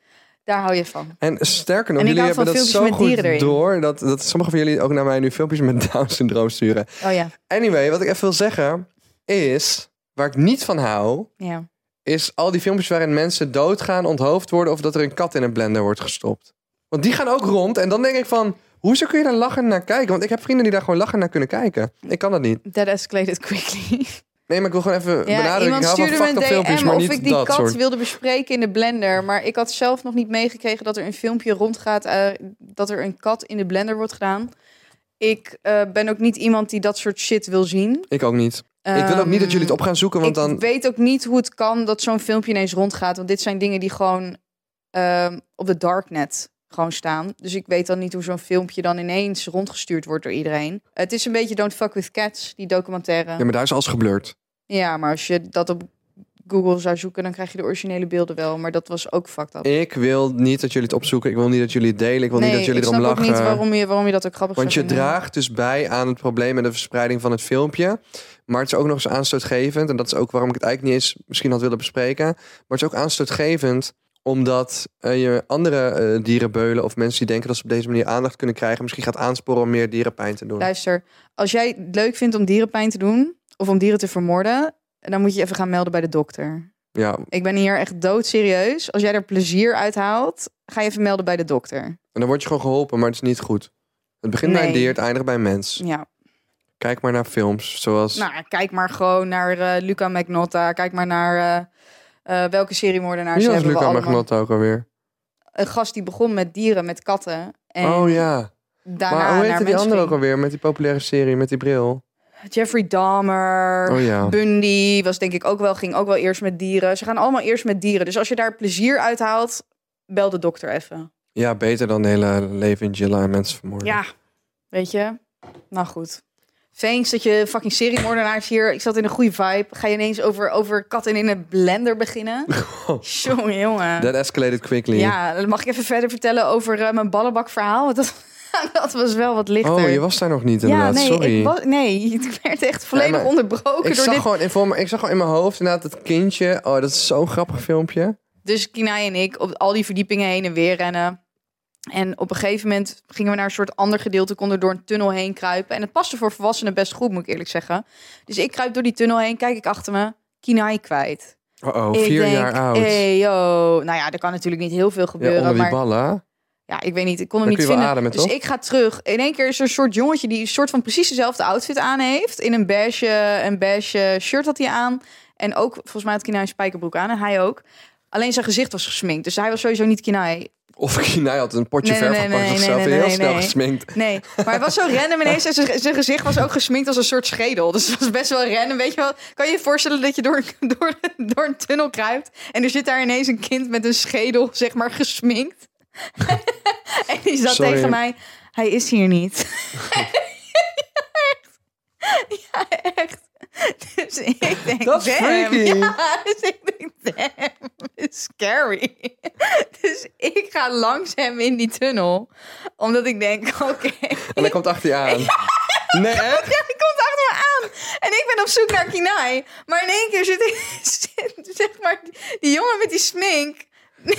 Speaker 5: daar hou je van.
Speaker 4: En sterker nog,
Speaker 5: En ik
Speaker 4: jullie
Speaker 5: hou van
Speaker 4: hebben dat zo
Speaker 5: filmpjes met dieren
Speaker 4: goed
Speaker 5: erin.
Speaker 4: door... Dat, dat sommige van jullie ook naar mij nu filmpjes met *laughs* Down-syndroom sturen.
Speaker 5: Oh ja,
Speaker 4: Anyway, wat ik even wil zeggen is... Waar ik niet van hou,
Speaker 5: ja.
Speaker 4: is al die filmpjes waarin mensen doodgaan, onthoofd worden of dat er een kat in een blender wordt gestopt. Want die gaan ook rond en dan denk ik van, hoezo kun je daar lachen naar kijken? Want ik heb vrienden die daar gewoon lachen naar kunnen kijken. Ik kan dat niet.
Speaker 5: That escalated quickly.
Speaker 4: Nee, maar ik wil gewoon even
Speaker 5: Ja,
Speaker 4: benadrukken,
Speaker 5: iemand
Speaker 4: ik hou van
Speaker 5: stuurde me
Speaker 4: fucked
Speaker 5: een
Speaker 4: up filmpjes,
Speaker 5: DM
Speaker 4: maar
Speaker 5: of ik
Speaker 4: niet
Speaker 5: die
Speaker 4: dat
Speaker 5: kat
Speaker 4: soort.
Speaker 5: wilde bespreken in de blender. Maar ik had zelf nog niet meegekregen dat er een filmpje rondgaat... eh, dat er een kat in de blender wordt gedaan. Ik eh, ben ook niet iemand die dat soort shit wil zien.
Speaker 4: Ik ook niet. ik wil ook niet dat jullie het op gaan zoeken, want
Speaker 5: Ehm, ik
Speaker 4: dan...
Speaker 5: weet ook niet hoe het kan dat zo'n filmpje ineens rondgaat. Want dit zijn dingen die gewoon ehm, op de darknet gewoon staan. Dus ik weet dan niet hoe zo'n filmpje dan ineens rondgestuurd wordt door iedereen. Het is een beetje Don't Fuck With Cats, die documentaire.
Speaker 4: Ja, maar daar is alles geblurred.
Speaker 5: Ja, maar als je dat op Google zou zoeken, dan krijg je de originele beelden wel. Maar dat was ook fucked up.
Speaker 4: Ik wil niet dat jullie het opzoeken, ik wil niet dat jullie het delen, ik wil niet dat jullie
Speaker 5: ik
Speaker 4: erom
Speaker 5: snap
Speaker 4: lachen.
Speaker 5: ook niet waarom je, waarom je dat ook grappig
Speaker 4: Want je
Speaker 5: zou vinden.
Speaker 4: draagt dus bij aan het probleem en de verspreiding van het filmpje. Maar het is ook nog eens aanstootgevend. En dat is ook waarom ik het eigenlijk niet eens misschien had willen bespreken. Maar het is ook aanstootgevend omdat eh, je andere eh, dierenbeulen of mensen die denken dat ze op deze manier aandacht kunnen krijgen, misschien gaat aansporen om meer dierenpijn te doen.
Speaker 5: Luister, als jij het leuk vindt om dierenpijn te doen of om dieren te vermoorden, dan moet je je even gaan melden bij de dokter.
Speaker 4: Ja,
Speaker 5: Ik ben hier echt doodserieus. Als jij er plezier uit haalt, ga je even melden bij de dokter.
Speaker 4: en dan word je gewoon geholpen, maar het is niet goed. Het begint bij een
Speaker 5: Nee.
Speaker 4: dier, het eindigt bij een mens.
Speaker 5: Ja.
Speaker 4: Kijk maar naar films zoals.
Speaker 5: Nou, ja, kijk maar gewoon naar eh, Luca Magnotta. Kijk maar naar eh, eh, welke seriemoordenaars
Speaker 4: Wie was
Speaker 5: hebben we
Speaker 4: Luca
Speaker 5: allemaal.
Speaker 4: Magnotta ook alweer?
Speaker 5: Een gast die begon met dieren, met katten. En
Speaker 4: oh ja.
Speaker 5: daarna
Speaker 4: Maar hoe
Speaker 5: naar
Speaker 4: heette die
Speaker 5: mensen
Speaker 4: andere ook
Speaker 5: ging.
Speaker 4: alweer met die populaire serie met die bril?
Speaker 5: Jeffrey Dahmer.
Speaker 4: Oh ja.
Speaker 5: Bundy was denk ik ook wel, ging ook wel eerst met dieren. Ze gaan allemaal eerst met dieren. Dus als je daar plezier uit haalt, bel de dokter even.
Speaker 4: Ja, beter dan de hele leven in Jilla en mensen vermoorden.
Speaker 5: Ja, weet je? Nou goed. Thanks dat je fucking seriemoordenaars hier. Ik zat in een goede vibe. Ga je ineens over, over katten in een blender
Speaker 4: *laughs*
Speaker 5: beginnen?
Speaker 4: Oh.
Speaker 5: Jongen, jongen.
Speaker 4: That escalated quickly.
Speaker 5: Ja, dan mag ik even verder vertellen over eh, mijn ballenbakverhaal. Want dat, *laughs* dat was wel wat lichter.
Speaker 4: oh, je was daar nog niet
Speaker 5: ja,
Speaker 4: inderdaad.
Speaker 5: nee,
Speaker 4: Sorry.
Speaker 5: Ik was, nee, *laughs* ik werd echt volledig
Speaker 4: maar
Speaker 5: onderbroken
Speaker 4: Ik
Speaker 5: door
Speaker 4: zag,
Speaker 5: dit
Speaker 4: gewoon in, voor me, ik zag gewoon in mijn hoofd inderdaad dat kindje. Oh, dat is zo'n grappig filmpje.
Speaker 5: Dus Kinai en ik op al die verdiepingen heen en weer rennen. En op een gegeven moment gingen we naar een soort ander gedeelte, konden door een tunnel heen kruipen. En het paste voor volwassenen best goed, moet ik eerlijk zeggen. Dus ik kruip door die tunnel heen, kijk ik achter me, Kinai kwijt.
Speaker 4: Oh, oh
Speaker 5: Ik
Speaker 4: vier
Speaker 5: denk,
Speaker 4: jaar oud.
Speaker 5: Hey, yo. Nou ja, er kan natuurlijk niet heel veel
Speaker 4: ja,
Speaker 5: gebeuren.
Speaker 4: onder die
Speaker 5: maar
Speaker 4: ballen.
Speaker 5: ja, ik weet niet, ik kon hem
Speaker 4: Dan
Speaker 5: niet
Speaker 4: kun je
Speaker 5: vinden.
Speaker 4: wel ademen,
Speaker 5: dus
Speaker 4: toch?
Speaker 5: ik ga terug. In één keer is er een soort jongetje die een soort van precies dezelfde outfit aan heeft. In een beige, een beige shirt had hij aan. En ook, volgens mij had Kina een spijkerbroek aan en hij ook. Alleen zijn gezicht was gesminkt. Dus hij was sowieso niet kinaai.
Speaker 4: Of *laughs* Kinaai had een potje
Speaker 5: Nee,
Speaker 4: verf
Speaker 5: nee, nee,
Speaker 4: gepakt
Speaker 5: nee,
Speaker 4: of zo.
Speaker 5: nee,
Speaker 4: Vind je
Speaker 5: nee,
Speaker 4: heel snel
Speaker 5: nee.
Speaker 4: gesminkt.
Speaker 5: Nee, maar het was zo
Speaker 4: *laughs*
Speaker 5: random ineens. En zijn zijn gezicht was ook gesminkt als een soort schedel. Dus het was best wel random. Weet je wel, kan je je voorstellen dat je door, *laughs* door, door een tunnel kruipt... en er zit daar ineens een kind met een schedel, zeg maar, gesminkt. *laughs* en die zat
Speaker 4: Sorry.
Speaker 5: tegen mij, hij is hier niet. *laughs* ja, echt. Ja, echt. Dus ik denk,
Speaker 4: Dat is
Speaker 5: damn.
Speaker 4: freaky.
Speaker 5: Ja, *laughs* dus ik denk, damn, is scary. *laughs* Dus ik ga langs hem in die tunnel. Omdat ik denk, *laughs* oké.
Speaker 4: En hij komt achter je
Speaker 5: *laughs*
Speaker 4: aan. Nee, echt?
Speaker 5: Ja, die komt achter me aan. En ik ben op zoek naar Kinai. Maar in één keer zit, *laughs* zit zeg maar, die jongen met die smink...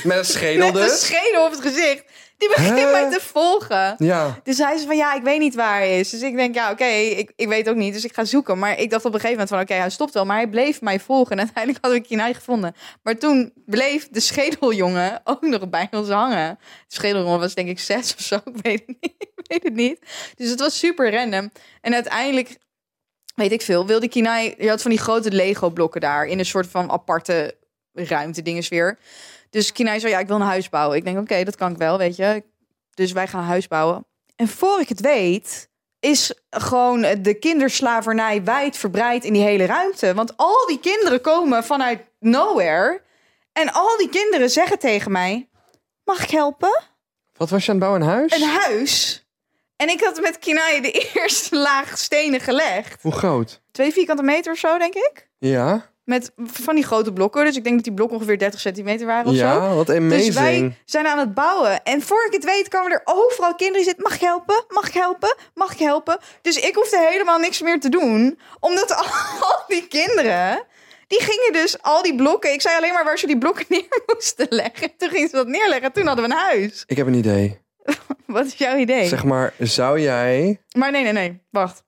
Speaker 4: Met een schedel
Speaker 5: met een
Speaker 4: dus?
Speaker 5: schedel op het gezicht. Die begint
Speaker 4: Hè?
Speaker 5: mij te volgen.
Speaker 4: Ja.
Speaker 5: Dus hij zei van, ja, ik weet niet waar hij is. Dus ik denk, ja, oké, ik, ik weet ook niet. Dus ik ga zoeken. Maar ik dacht op een gegeven moment van, oké, hij stopt wel. Maar hij bleef mij volgen. En *laughs* uiteindelijk hadden we Kinai gevonden. Maar toen bleef de schedeljongen *laughs* ook nog bij ons hangen. De schedeljongen was denk ik zes of zo. *laughs* Ik weet het niet. Ik weet het niet. Dus het was super random. En uiteindelijk, weet ik veel, wilde Kinai... Je had van die grote Lego-blokken daar. In een soort van aparte ruimte dingesfeer. Dus Kinai zei, ja, ik wil een huis bouwen. Ik denk, oké, dat kan ik wel, weet je. Dus wij gaan een huis bouwen. En voor ik het weet, is gewoon de kinderslavernij wijdverbreid in die hele ruimte. Want al die kinderen komen vanuit nowhere. En al die kinderen zeggen tegen mij: Mag ik helpen?
Speaker 4: Wat was je aan het bouwen? Een huis?
Speaker 5: Een huis. En ik had met Kinai de *laughs* eerste laag stenen gelegd.
Speaker 4: Hoe groot?
Speaker 5: Twee vierkante meter of zo, denk ik.
Speaker 4: Ja.
Speaker 5: Met van die grote blokken. Dus ik denk dat die blokken ongeveer 30 centimeter waren of zo.
Speaker 4: Ja, wat amazing.
Speaker 5: Dus wij zijn aan het bouwen. En voor ik het weet komen er overal kinderen zitten. Mag ik helpen? Mag ik helpen? Mag ik helpen? Dus ik hoefde helemaal niks meer te doen. Omdat *laughs* al die kinderen... Die gingen dus al die blokken... Ik zei alleen maar waar ze die blokken *laughs* neer moesten leggen. Toen gingen ze dat neerleggen. Toen hadden we een huis.
Speaker 4: Ik heb een idee.
Speaker 5: Wat is jouw idee?
Speaker 4: Zeg maar, zou jij...
Speaker 5: Maar nee, nee, nee. Wacht.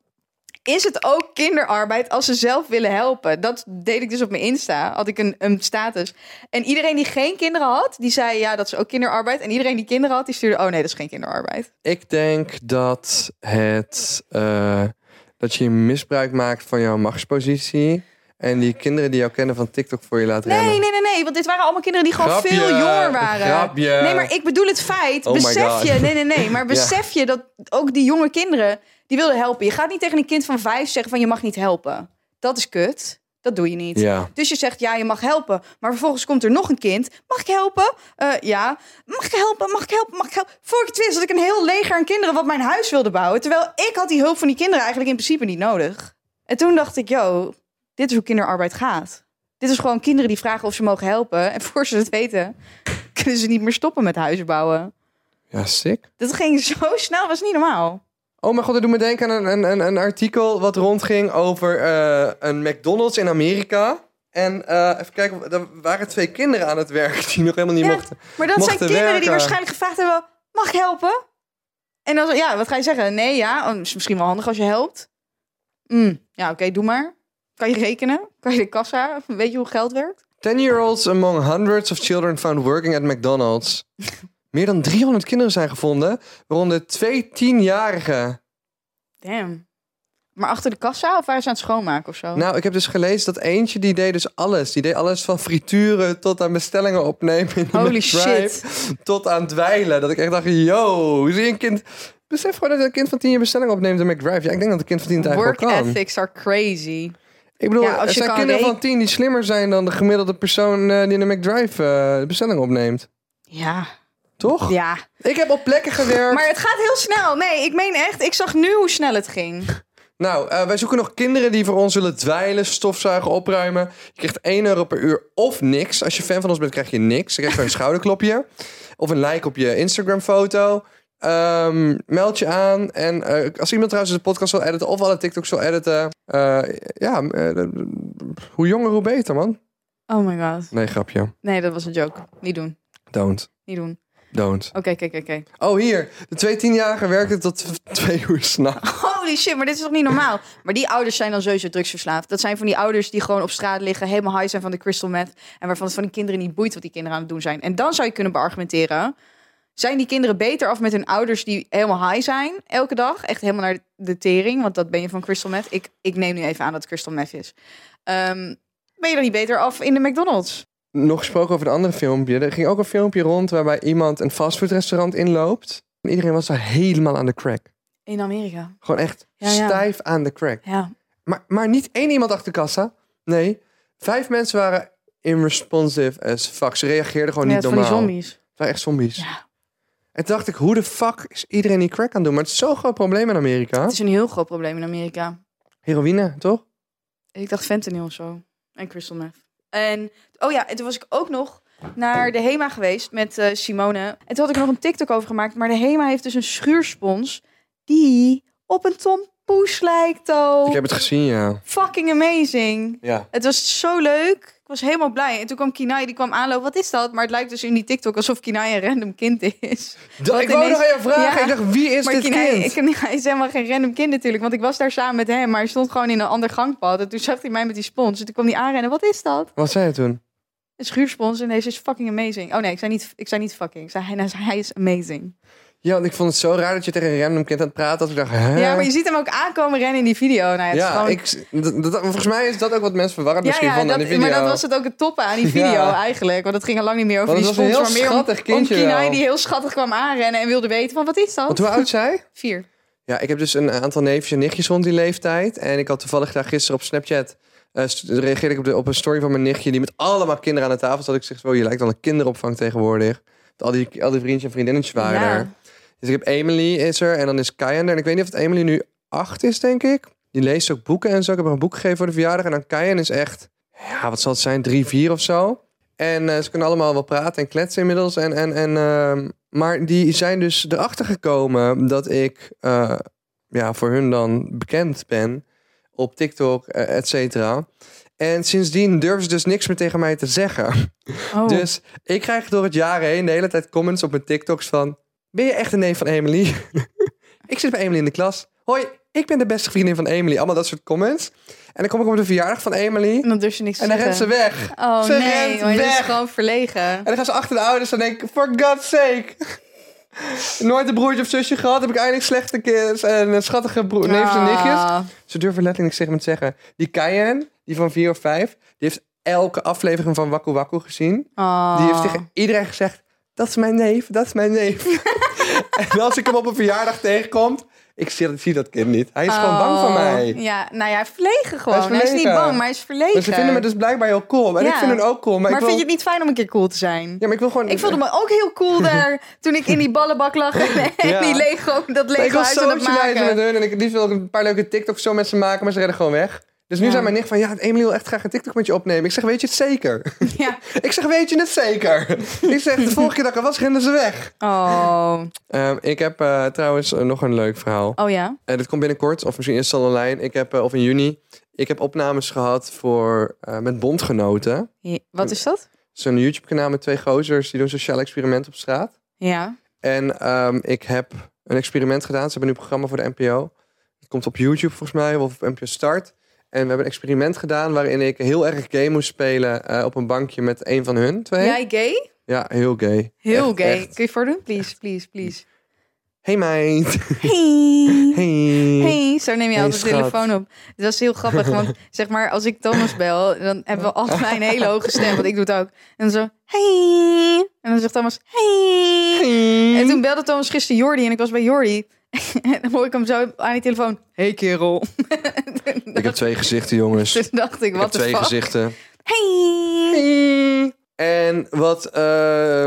Speaker 5: Is het ook kinderarbeid als ze zelf willen helpen? Dat deed ik dus op mijn Insta. Had ik een, een status. En iedereen die geen kinderen had, die zei ja, dat is ook kinderarbeid. En iedereen die kinderen had, die stuurde oh nee, dat is geen kinderarbeid.
Speaker 4: Ik denk dat het... eh, dat je misbruik maakt van jouw machtspositie. En die kinderen die jou kennen van TikTok voor je laat
Speaker 5: Nee,
Speaker 4: rennen.
Speaker 5: nee, nee, nee. Want dit waren allemaal kinderen die gewoon
Speaker 4: Grapje,
Speaker 5: veel jonger waren.
Speaker 4: grapje.
Speaker 5: Nee, maar ik bedoel het feit.
Speaker 4: Oh my
Speaker 5: besef
Speaker 4: God.
Speaker 5: je, nee, nee,
Speaker 4: *laughs*
Speaker 5: nee. Maar besef je dat ook die jonge kinderen, die wilden helpen. Je gaat niet tegen een kind van vijf zeggen van je mag niet helpen. Dat is kut. Dat doe je niet.
Speaker 4: Ja.
Speaker 5: Dus je zegt, ja, je mag helpen. Maar vervolgens komt er nog een kind. Mag ik helpen? Eh, ja. Mag ik helpen? Mag ik helpen? Mag ik helpen? Voor ik het wist had ik een heel leger aan kinderen wat mijn huis wilde bouwen. Terwijl ik had die hulp van die kinderen eigenlijk in principe niet nodig. En toen dacht ik, yo, dit is hoe kinderarbeid gaat. Dit is gewoon kinderen die vragen of ze mogen helpen. En voor ze het weten, *laughs* kunnen ze niet meer stoppen met huizen bouwen.
Speaker 4: Ja, sick.
Speaker 5: Dat ging zo snel, was niet normaal.
Speaker 4: Oh mijn god, dat doet me denken aan een, een, een, een artikel wat rondging over eh, een McDonald's in Amerika. En eh, even kijken, er waren twee kinderen aan het werk die nog helemaal niet
Speaker 5: Ja.
Speaker 4: mochten.
Speaker 5: Maar dat
Speaker 4: Mochten
Speaker 5: zijn kinderen die
Speaker 4: werken.
Speaker 5: waarschijnlijk gevraagd hebben: mag ik helpen? En dan, zo, ja, wat ga je zeggen? Nee, ja, oh, is misschien wel handig als je helpt. Mm, ja, oké, doe maar. Kan je rekenen? Kan je de kassa? Weet je hoe geld werkt?
Speaker 4: 10-year-olds among hundreds of children found working at
Speaker 5: *laughs*
Speaker 4: McDonald's. Meer dan 300 kinderen zijn gevonden, waaronder twee tienjarigen.
Speaker 5: Damn. Maar achter de kassa of waar ze aan het schoonmaken of zo?
Speaker 4: Nou, ik heb dus gelezen dat eentje die deed dus alles. Die deed alles van frituren tot aan bestellingen opnemen in de
Speaker 5: Holy
Speaker 4: McDrive,
Speaker 5: shit.
Speaker 4: Tot aan dweilen. Dat ik echt dacht, yo, hoe zie je een kind... Besef gewoon dat een kind van tien jaar bestellingen opneemt in McDrive. Ja, ik denk dat een kind van tien het
Speaker 5: Work
Speaker 4: eigenlijk wel kan.
Speaker 5: ethics are crazy.
Speaker 4: Ik bedoel,
Speaker 5: Ja, als
Speaker 4: er
Speaker 5: je
Speaker 4: zijn
Speaker 5: kan
Speaker 4: kinderen
Speaker 5: reken-
Speaker 4: van tien die slimmer zijn dan de gemiddelde persoon eh, die in de McDrive eh, de bestelling opneemt.
Speaker 5: Ja,
Speaker 4: Toch?
Speaker 5: ja.
Speaker 4: Ik heb op plekken gewerkt.
Speaker 5: Maar het gaat heel snel. Nee, ik meen echt, ik zag nu hoe snel het ging.
Speaker 4: *laughs* Nou, eh, wij zoeken nog kinderen die voor ons willen dweilen, stofzuigen, opruimen. Je krijgt 1 euro per uur of niks. Als je fan van ons bent, krijg je niks. Je krijgt gewoon een *laughs* schouderklopje. Of een like op je Instagram-foto. Ehm, meld je aan. En eh, als iemand trouwens de podcast wil editen of alle TikToks wil editen. eh, ja, eh, hoe jonger, hoe beter, man.
Speaker 5: Oh my god.
Speaker 4: Nee, grapje.
Speaker 5: Nee, dat was een joke. Niet doen.
Speaker 4: Don't.
Speaker 5: Niet doen.
Speaker 4: Don't.
Speaker 5: Oké, kijk, kijk, kijk.
Speaker 4: Oh, hier. De twee tienjarigen werken tot *laughs* twee uur s'nachts.
Speaker 5: Holy shit, maar dit is toch niet normaal? Maar die ouders zijn dan sowieso drugsverslaafd. Dat zijn van die ouders die gewoon op straat liggen, helemaal high zijn van de crystal meth. En waarvan het van die kinderen niet boeit wat die kinderen aan het doen zijn. En dan zou je kunnen beargumenteren. Zijn die kinderen beter af met hun ouders die helemaal high zijn elke dag? Echt helemaal naar de tering, want dat ben je van crystal meth. Ik, ik neem nu even aan dat het crystal meth is. Ehm, ben je dan niet beter af in de McDonald's?
Speaker 4: Nog gesproken over een andere filmpje. Er ging ook een filmpje rond waarbij iemand een fastfoodrestaurant inloopt. En iedereen was daar helemaal aan de crack.
Speaker 5: In Amerika.
Speaker 4: Gewoon echt
Speaker 5: Ja, ja.
Speaker 4: stijf aan de crack.
Speaker 5: Ja.
Speaker 4: Maar, maar niet één iemand achter de kassa. Nee, vijf mensen waren irresponsive as fuck. Ze reageerden gewoon
Speaker 5: ja,
Speaker 4: Oh, niet
Speaker 5: van die
Speaker 4: normaal.
Speaker 5: zombies.
Speaker 4: Het waren echt zombies.
Speaker 5: Ja.
Speaker 4: En toen dacht ik, hoe de fuck is iedereen die crack aan het doen? Maar het is zo'n groot probleem in Amerika.
Speaker 5: Het is een heel groot probleem in Amerika.
Speaker 4: Heroïne, toch?
Speaker 5: Ik dacht fentanyl of zo. En crystal meth. En, oh ja, en toen was ik ook nog naar de HEMA geweest met eh, Simone. En toen had ik er nog een TikTok over gemaakt. Maar de HEMA heeft dus een schuurspons die op een Tom Poes lijkt, oh.
Speaker 4: Ik heb het gezien, ja.
Speaker 5: Fucking amazing.
Speaker 4: Ja.
Speaker 5: Het was zo leuk. Ik was helemaal blij. En toen kwam Kinai, die kwam aanlopen. Wat is dat? Maar het lijkt dus in die TikTok alsof Kinai een random kind is.
Speaker 4: Dat, ik
Speaker 5: ineens-
Speaker 4: wou nog aan je vragen.
Speaker 5: Ja.
Speaker 4: Ik dacht, wie is
Speaker 5: *laughs* maar
Speaker 4: dit
Speaker 5: Kinai,
Speaker 4: kind?
Speaker 5: Kinai- hij is helemaal geen random kind natuurlijk. Want ik was daar samen met hem. Maar hij stond gewoon in een ander gangpad. En toen zag hij mij met die spons. En toen kwam hij aanrennen. Wat is dat?
Speaker 4: Wat zei je toen?
Speaker 5: Een schuurspons en deze is fucking amazing. Oh nee, ik zei niet, ik zei niet fucking. Ik zei, hij, hij is amazing.
Speaker 4: Ja, want ik vond het zo raar dat je tegen een random kind aan het praten was. Ik dacht, hè?
Speaker 5: Ja, maar je ziet hem ook aankomen rennen in die video. Nou, ja, het is
Speaker 4: Ja,
Speaker 5: gewoon-
Speaker 4: ik, dat, dat- volgens mij is dat ook wat mensen verwarren misschien van
Speaker 5: dat,
Speaker 4: aan die video.
Speaker 5: maar dat was het ook het toppen aan die video
Speaker 4: *laughs* Ja.
Speaker 5: eigenlijk. Want het ging al lang niet meer over
Speaker 4: Want
Speaker 5: die
Speaker 4: het was een
Speaker 5: spons.
Speaker 4: heel
Speaker 5: maar meer om-
Speaker 4: schattig kindje
Speaker 5: Om Kinai
Speaker 4: wel.
Speaker 5: die heel schattig kwam aanrennen en wilde weten van wat is dat?
Speaker 4: Want hoe oud zij?
Speaker 5: Vier.
Speaker 4: Ja, ik heb dus een aantal neefjes en nichtjes rond die leeftijd. En ik had toevallig daar gisteren op Snapchat... eh, st- reageerde ik op, de, op een story van mijn nichtje... die met allemaal kinderen aan de tafel zat. Ik zeg, oh, je lijkt wel een kinderopvang tegenwoordig. Want Al die, al die vriendjes en vriendinnetjes waren
Speaker 5: Ja.
Speaker 4: daar. Dus ik heb Emily is er en dan is Kayan er. En ik weet niet of het Emily nu acht is, denk ik. Die leest ook boeken en zo. Ik heb haar een boek gegeven voor de verjaardag. En dan Kayan is echt, ja, wat zal het zijn, drie, vier of zo. En eh, ze kunnen allemaal wel praten en kletsen inmiddels. En, en, en, ehm, maar die zijn dus erachter gekomen dat ik eh, ja, voor hun dan bekend ben op TikTok, eh, et cetera. En sindsdien durven ze dus niks meer tegen mij te zeggen.
Speaker 5: Oh.
Speaker 4: Dus ik krijg door het jaar heen de hele tijd comments op mijn TikToks van... Ben je echt een neef van Emily? *laughs* ik zit bij Emily in de klas. Hoi, ik ben de beste vriendin van Emily. Allemaal dat soort comments. En dan kom ik op de verjaardag van Emily.
Speaker 5: en dan durf je niks
Speaker 4: En
Speaker 5: te
Speaker 4: dan rent
Speaker 5: zeggen.
Speaker 4: ze weg.
Speaker 5: Oh
Speaker 4: ze
Speaker 5: nee,
Speaker 4: rent
Speaker 5: maar dat is
Speaker 4: weg.
Speaker 5: gewoon verlegen.
Speaker 4: En dan gaan ze achter de ouders en denk ik... For God's sake. *laughs* Nooit een broertje of zusje gehad. Heb ik eindelijk slechte kids en eh, schattige broer, neefjes en nichtjes.
Speaker 5: Ah.
Speaker 4: Ze durven letterlijk niks tegen me te zeggen. Die Kayen, die van vier of vijf... Die heeft elke aflevering van Waku Waku gezien.
Speaker 5: Ah.
Speaker 4: Die heeft tegen iedereen gezegd: dat is mijn neef, dat is mijn
Speaker 5: *laughs*
Speaker 4: neef. en als ik hem op een verjaardag tegenkom, ik zie, zie dat kind niet. Hij is gewoon bang van
Speaker 5: Oh.
Speaker 4: mij.
Speaker 5: Ja, nou ja, verlegen gewoon. Hij is, niet
Speaker 4: verlegen.
Speaker 5: bang, maar hij is verlegen.
Speaker 4: Maar ze vinden me dus blijkbaar heel cool. En
Speaker 5: Ja.
Speaker 4: ik vind hun ook cool. Maar,
Speaker 5: Maar
Speaker 4: ik wil,
Speaker 5: vind je het niet fijn om een keer cool te zijn?
Speaker 4: Ja, maar ik wil gewoon.
Speaker 5: Ik voelde me ook heel cool daar
Speaker 4: *laughs*
Speaker 5: toen ik in die ballenbak lag en, en
Speaker 4: Ja.
Speaker 5: die Lego, dat
Speaker 4: ik
Speaker 5: Lego
Speaker 4: wil
Speaker 5: huis aan het
Speaker 4: zo'n
Speaker 5: maken.
Speaker 4: met hun. En ik, liefst wil ik een paar leuke TikToks zo met ze maken, maar ze redden gewoon weg. Dus nu
Speaker 5: Ja.
Speaker 4: zijn mijn nicht van, ja, Emily wil echt graag een TikTok met je opnemen. Ik zeg, weet je het zeker?
Speaker 5: Ja.
Speaker 4: ik zeg, weet je het
Speaker 5: *laughs*
Speaker 4: zeker? ik zeg, de vorige keer dat ik er was, renden ze weg.
Speaker 5: Oh.
Speaker 4: Ehm, ik heb eh, trouwens eh, nog een leuk verhaal.
Speaker 5: oh ja.
Speaker 4: Eh, dit komt binnenkort, of misschien is het al online. Ik heb, eh, of in juni, ik heb opnames gehad voor, eh, met bondgenoten. Het
Speaker 5: Ja, Wat is dat?
Speaker 4: is een YouTube-kanaal met twee gozers, die doen sociaal experiment op straat.
Speaker 5: Ja.
Speaker 4: En ehm, ik heb een experiment gedaan. Ze hebben nu een programma voor de NPO. Het komt op YouTube volgens mij, of op NPO Start. En we hebben een experiment gedaan waarin ik heel erg gay moest spelen eh, op een bankje met een van hun twee.
Speaker 5: Jij gay?
Speaker 4: Ja, heel gay.
Speaker 5: Heel
Speaker 4: Echt,
Speaker 5: gay.
Speaker 4: echt.
Speaker 5: Kun je voordoen? Please, please, please.
Speaker 4: Hey
Speaker 5: *laughs*
Speaker 4: meid.
Speaker 5: Hey.
Speaker 4: Hey.
Speaker 5: Hey, zo neem je
Speaker 4: Hey,
Speaker 5: altijd de
Speaker 4: schat.
Speaker 5: telefoon op. Het was heel grappig, want
Speaker 4: *laughs*
Speaker 5: zeg maar, als ik Thomas bel, dan hebben we allebei een hele hoge stem, want ik doe het ook. En zo, hey. En dan zegt Thomas, hey. En
Speaker 4: Mhm.
Speaker 5: toen belde Thomas gisteren Jordi en ik was bij Jordi. *laughs* en dan hoor ik hem zo aan die telefoon, *laughs* hey kerel.
Speaker 4: Ik heb twee gezichten,
Speaker 5: *laughs*
Speaker 4: jongens.
Speaker 5: Toen dacht ik,
Speaker 4: ik heb
Speaker 5: wat de
Speaker 4: twee
Speaker 5: fuck.
Speaker 4: gezichten.
Speaker 5: Hey.
Speaker 4: En wat,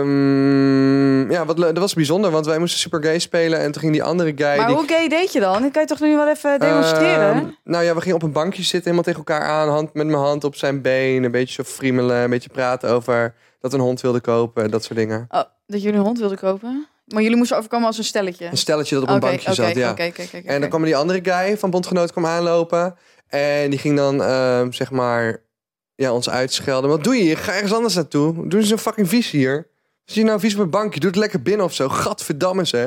Speaker 4: ehm, ja, wat, le- dat was bijzonder, want wij moesten super gay spelen en toen ging die andere guy.
Speaker 5: Maar
Speaker 4: die,
Speaker 5: hoe gay deed je dan? Dan kan je toch nu wel even demonstreren?
Speaker 4: Ehm, nou ja, we gingen op een bankje zitten, helemaal tegen elkaar aan, hand, met mijn hand op zijn been, een beetje zo friemelen, een beetje praten over dat we een hond wilde kopen, en dat soort dingen.
Speaker 5: Oh, dat jullie een hond wilden kopen? Maar jullie moesten overkomen als een stelletje.
Speaker 4: Een stelletje dat op een bankje zat, ja.
Speaker 5: Oké, oké, oké,
Speaker 4: En
Speaker 5: oké.
Speaker 4: dan kwam die andere guy van Bondgenoot kwam aanlopen. En die ging dan, ehm, zeg maar, ja, ons uitschelden. Wat doe je hier? Ga ergens anders naartoe. Doe eens een fucking vies hier. Zie je nou vies op een bankje? Doe het lekker binnen of zo. Gadverdamme zeg.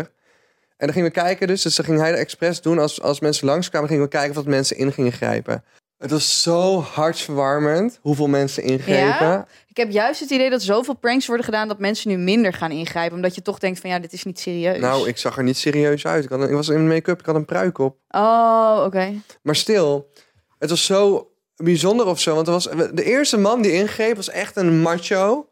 Speaker 4: En dan gingen we kijken dus. Dus dan ging hij de expres doen. Als, als mensen langskwamen, gingen we kijken of dat mensen in gingen grijpen. Het was zo hartverwarmend hoeveel mensen ingrepen.
Speaker 5: Ja? Ik heb juist het idee dat zoveel pranks worden gedaan dat mensen nu minder gaan ingrijpen. Omdat je toch denkt van ja, dit is niet serieus.
Speaker 4: Nou, ik zag er niet serieus uit. Ik, had een- ik was in make-up, ik had een pruik op.
Speaker 5: Oh, oké.
Speaker 4: Maar stil, het was zo bijzonder of zo. Want er was, de eerste man die ingreep was echt een macho.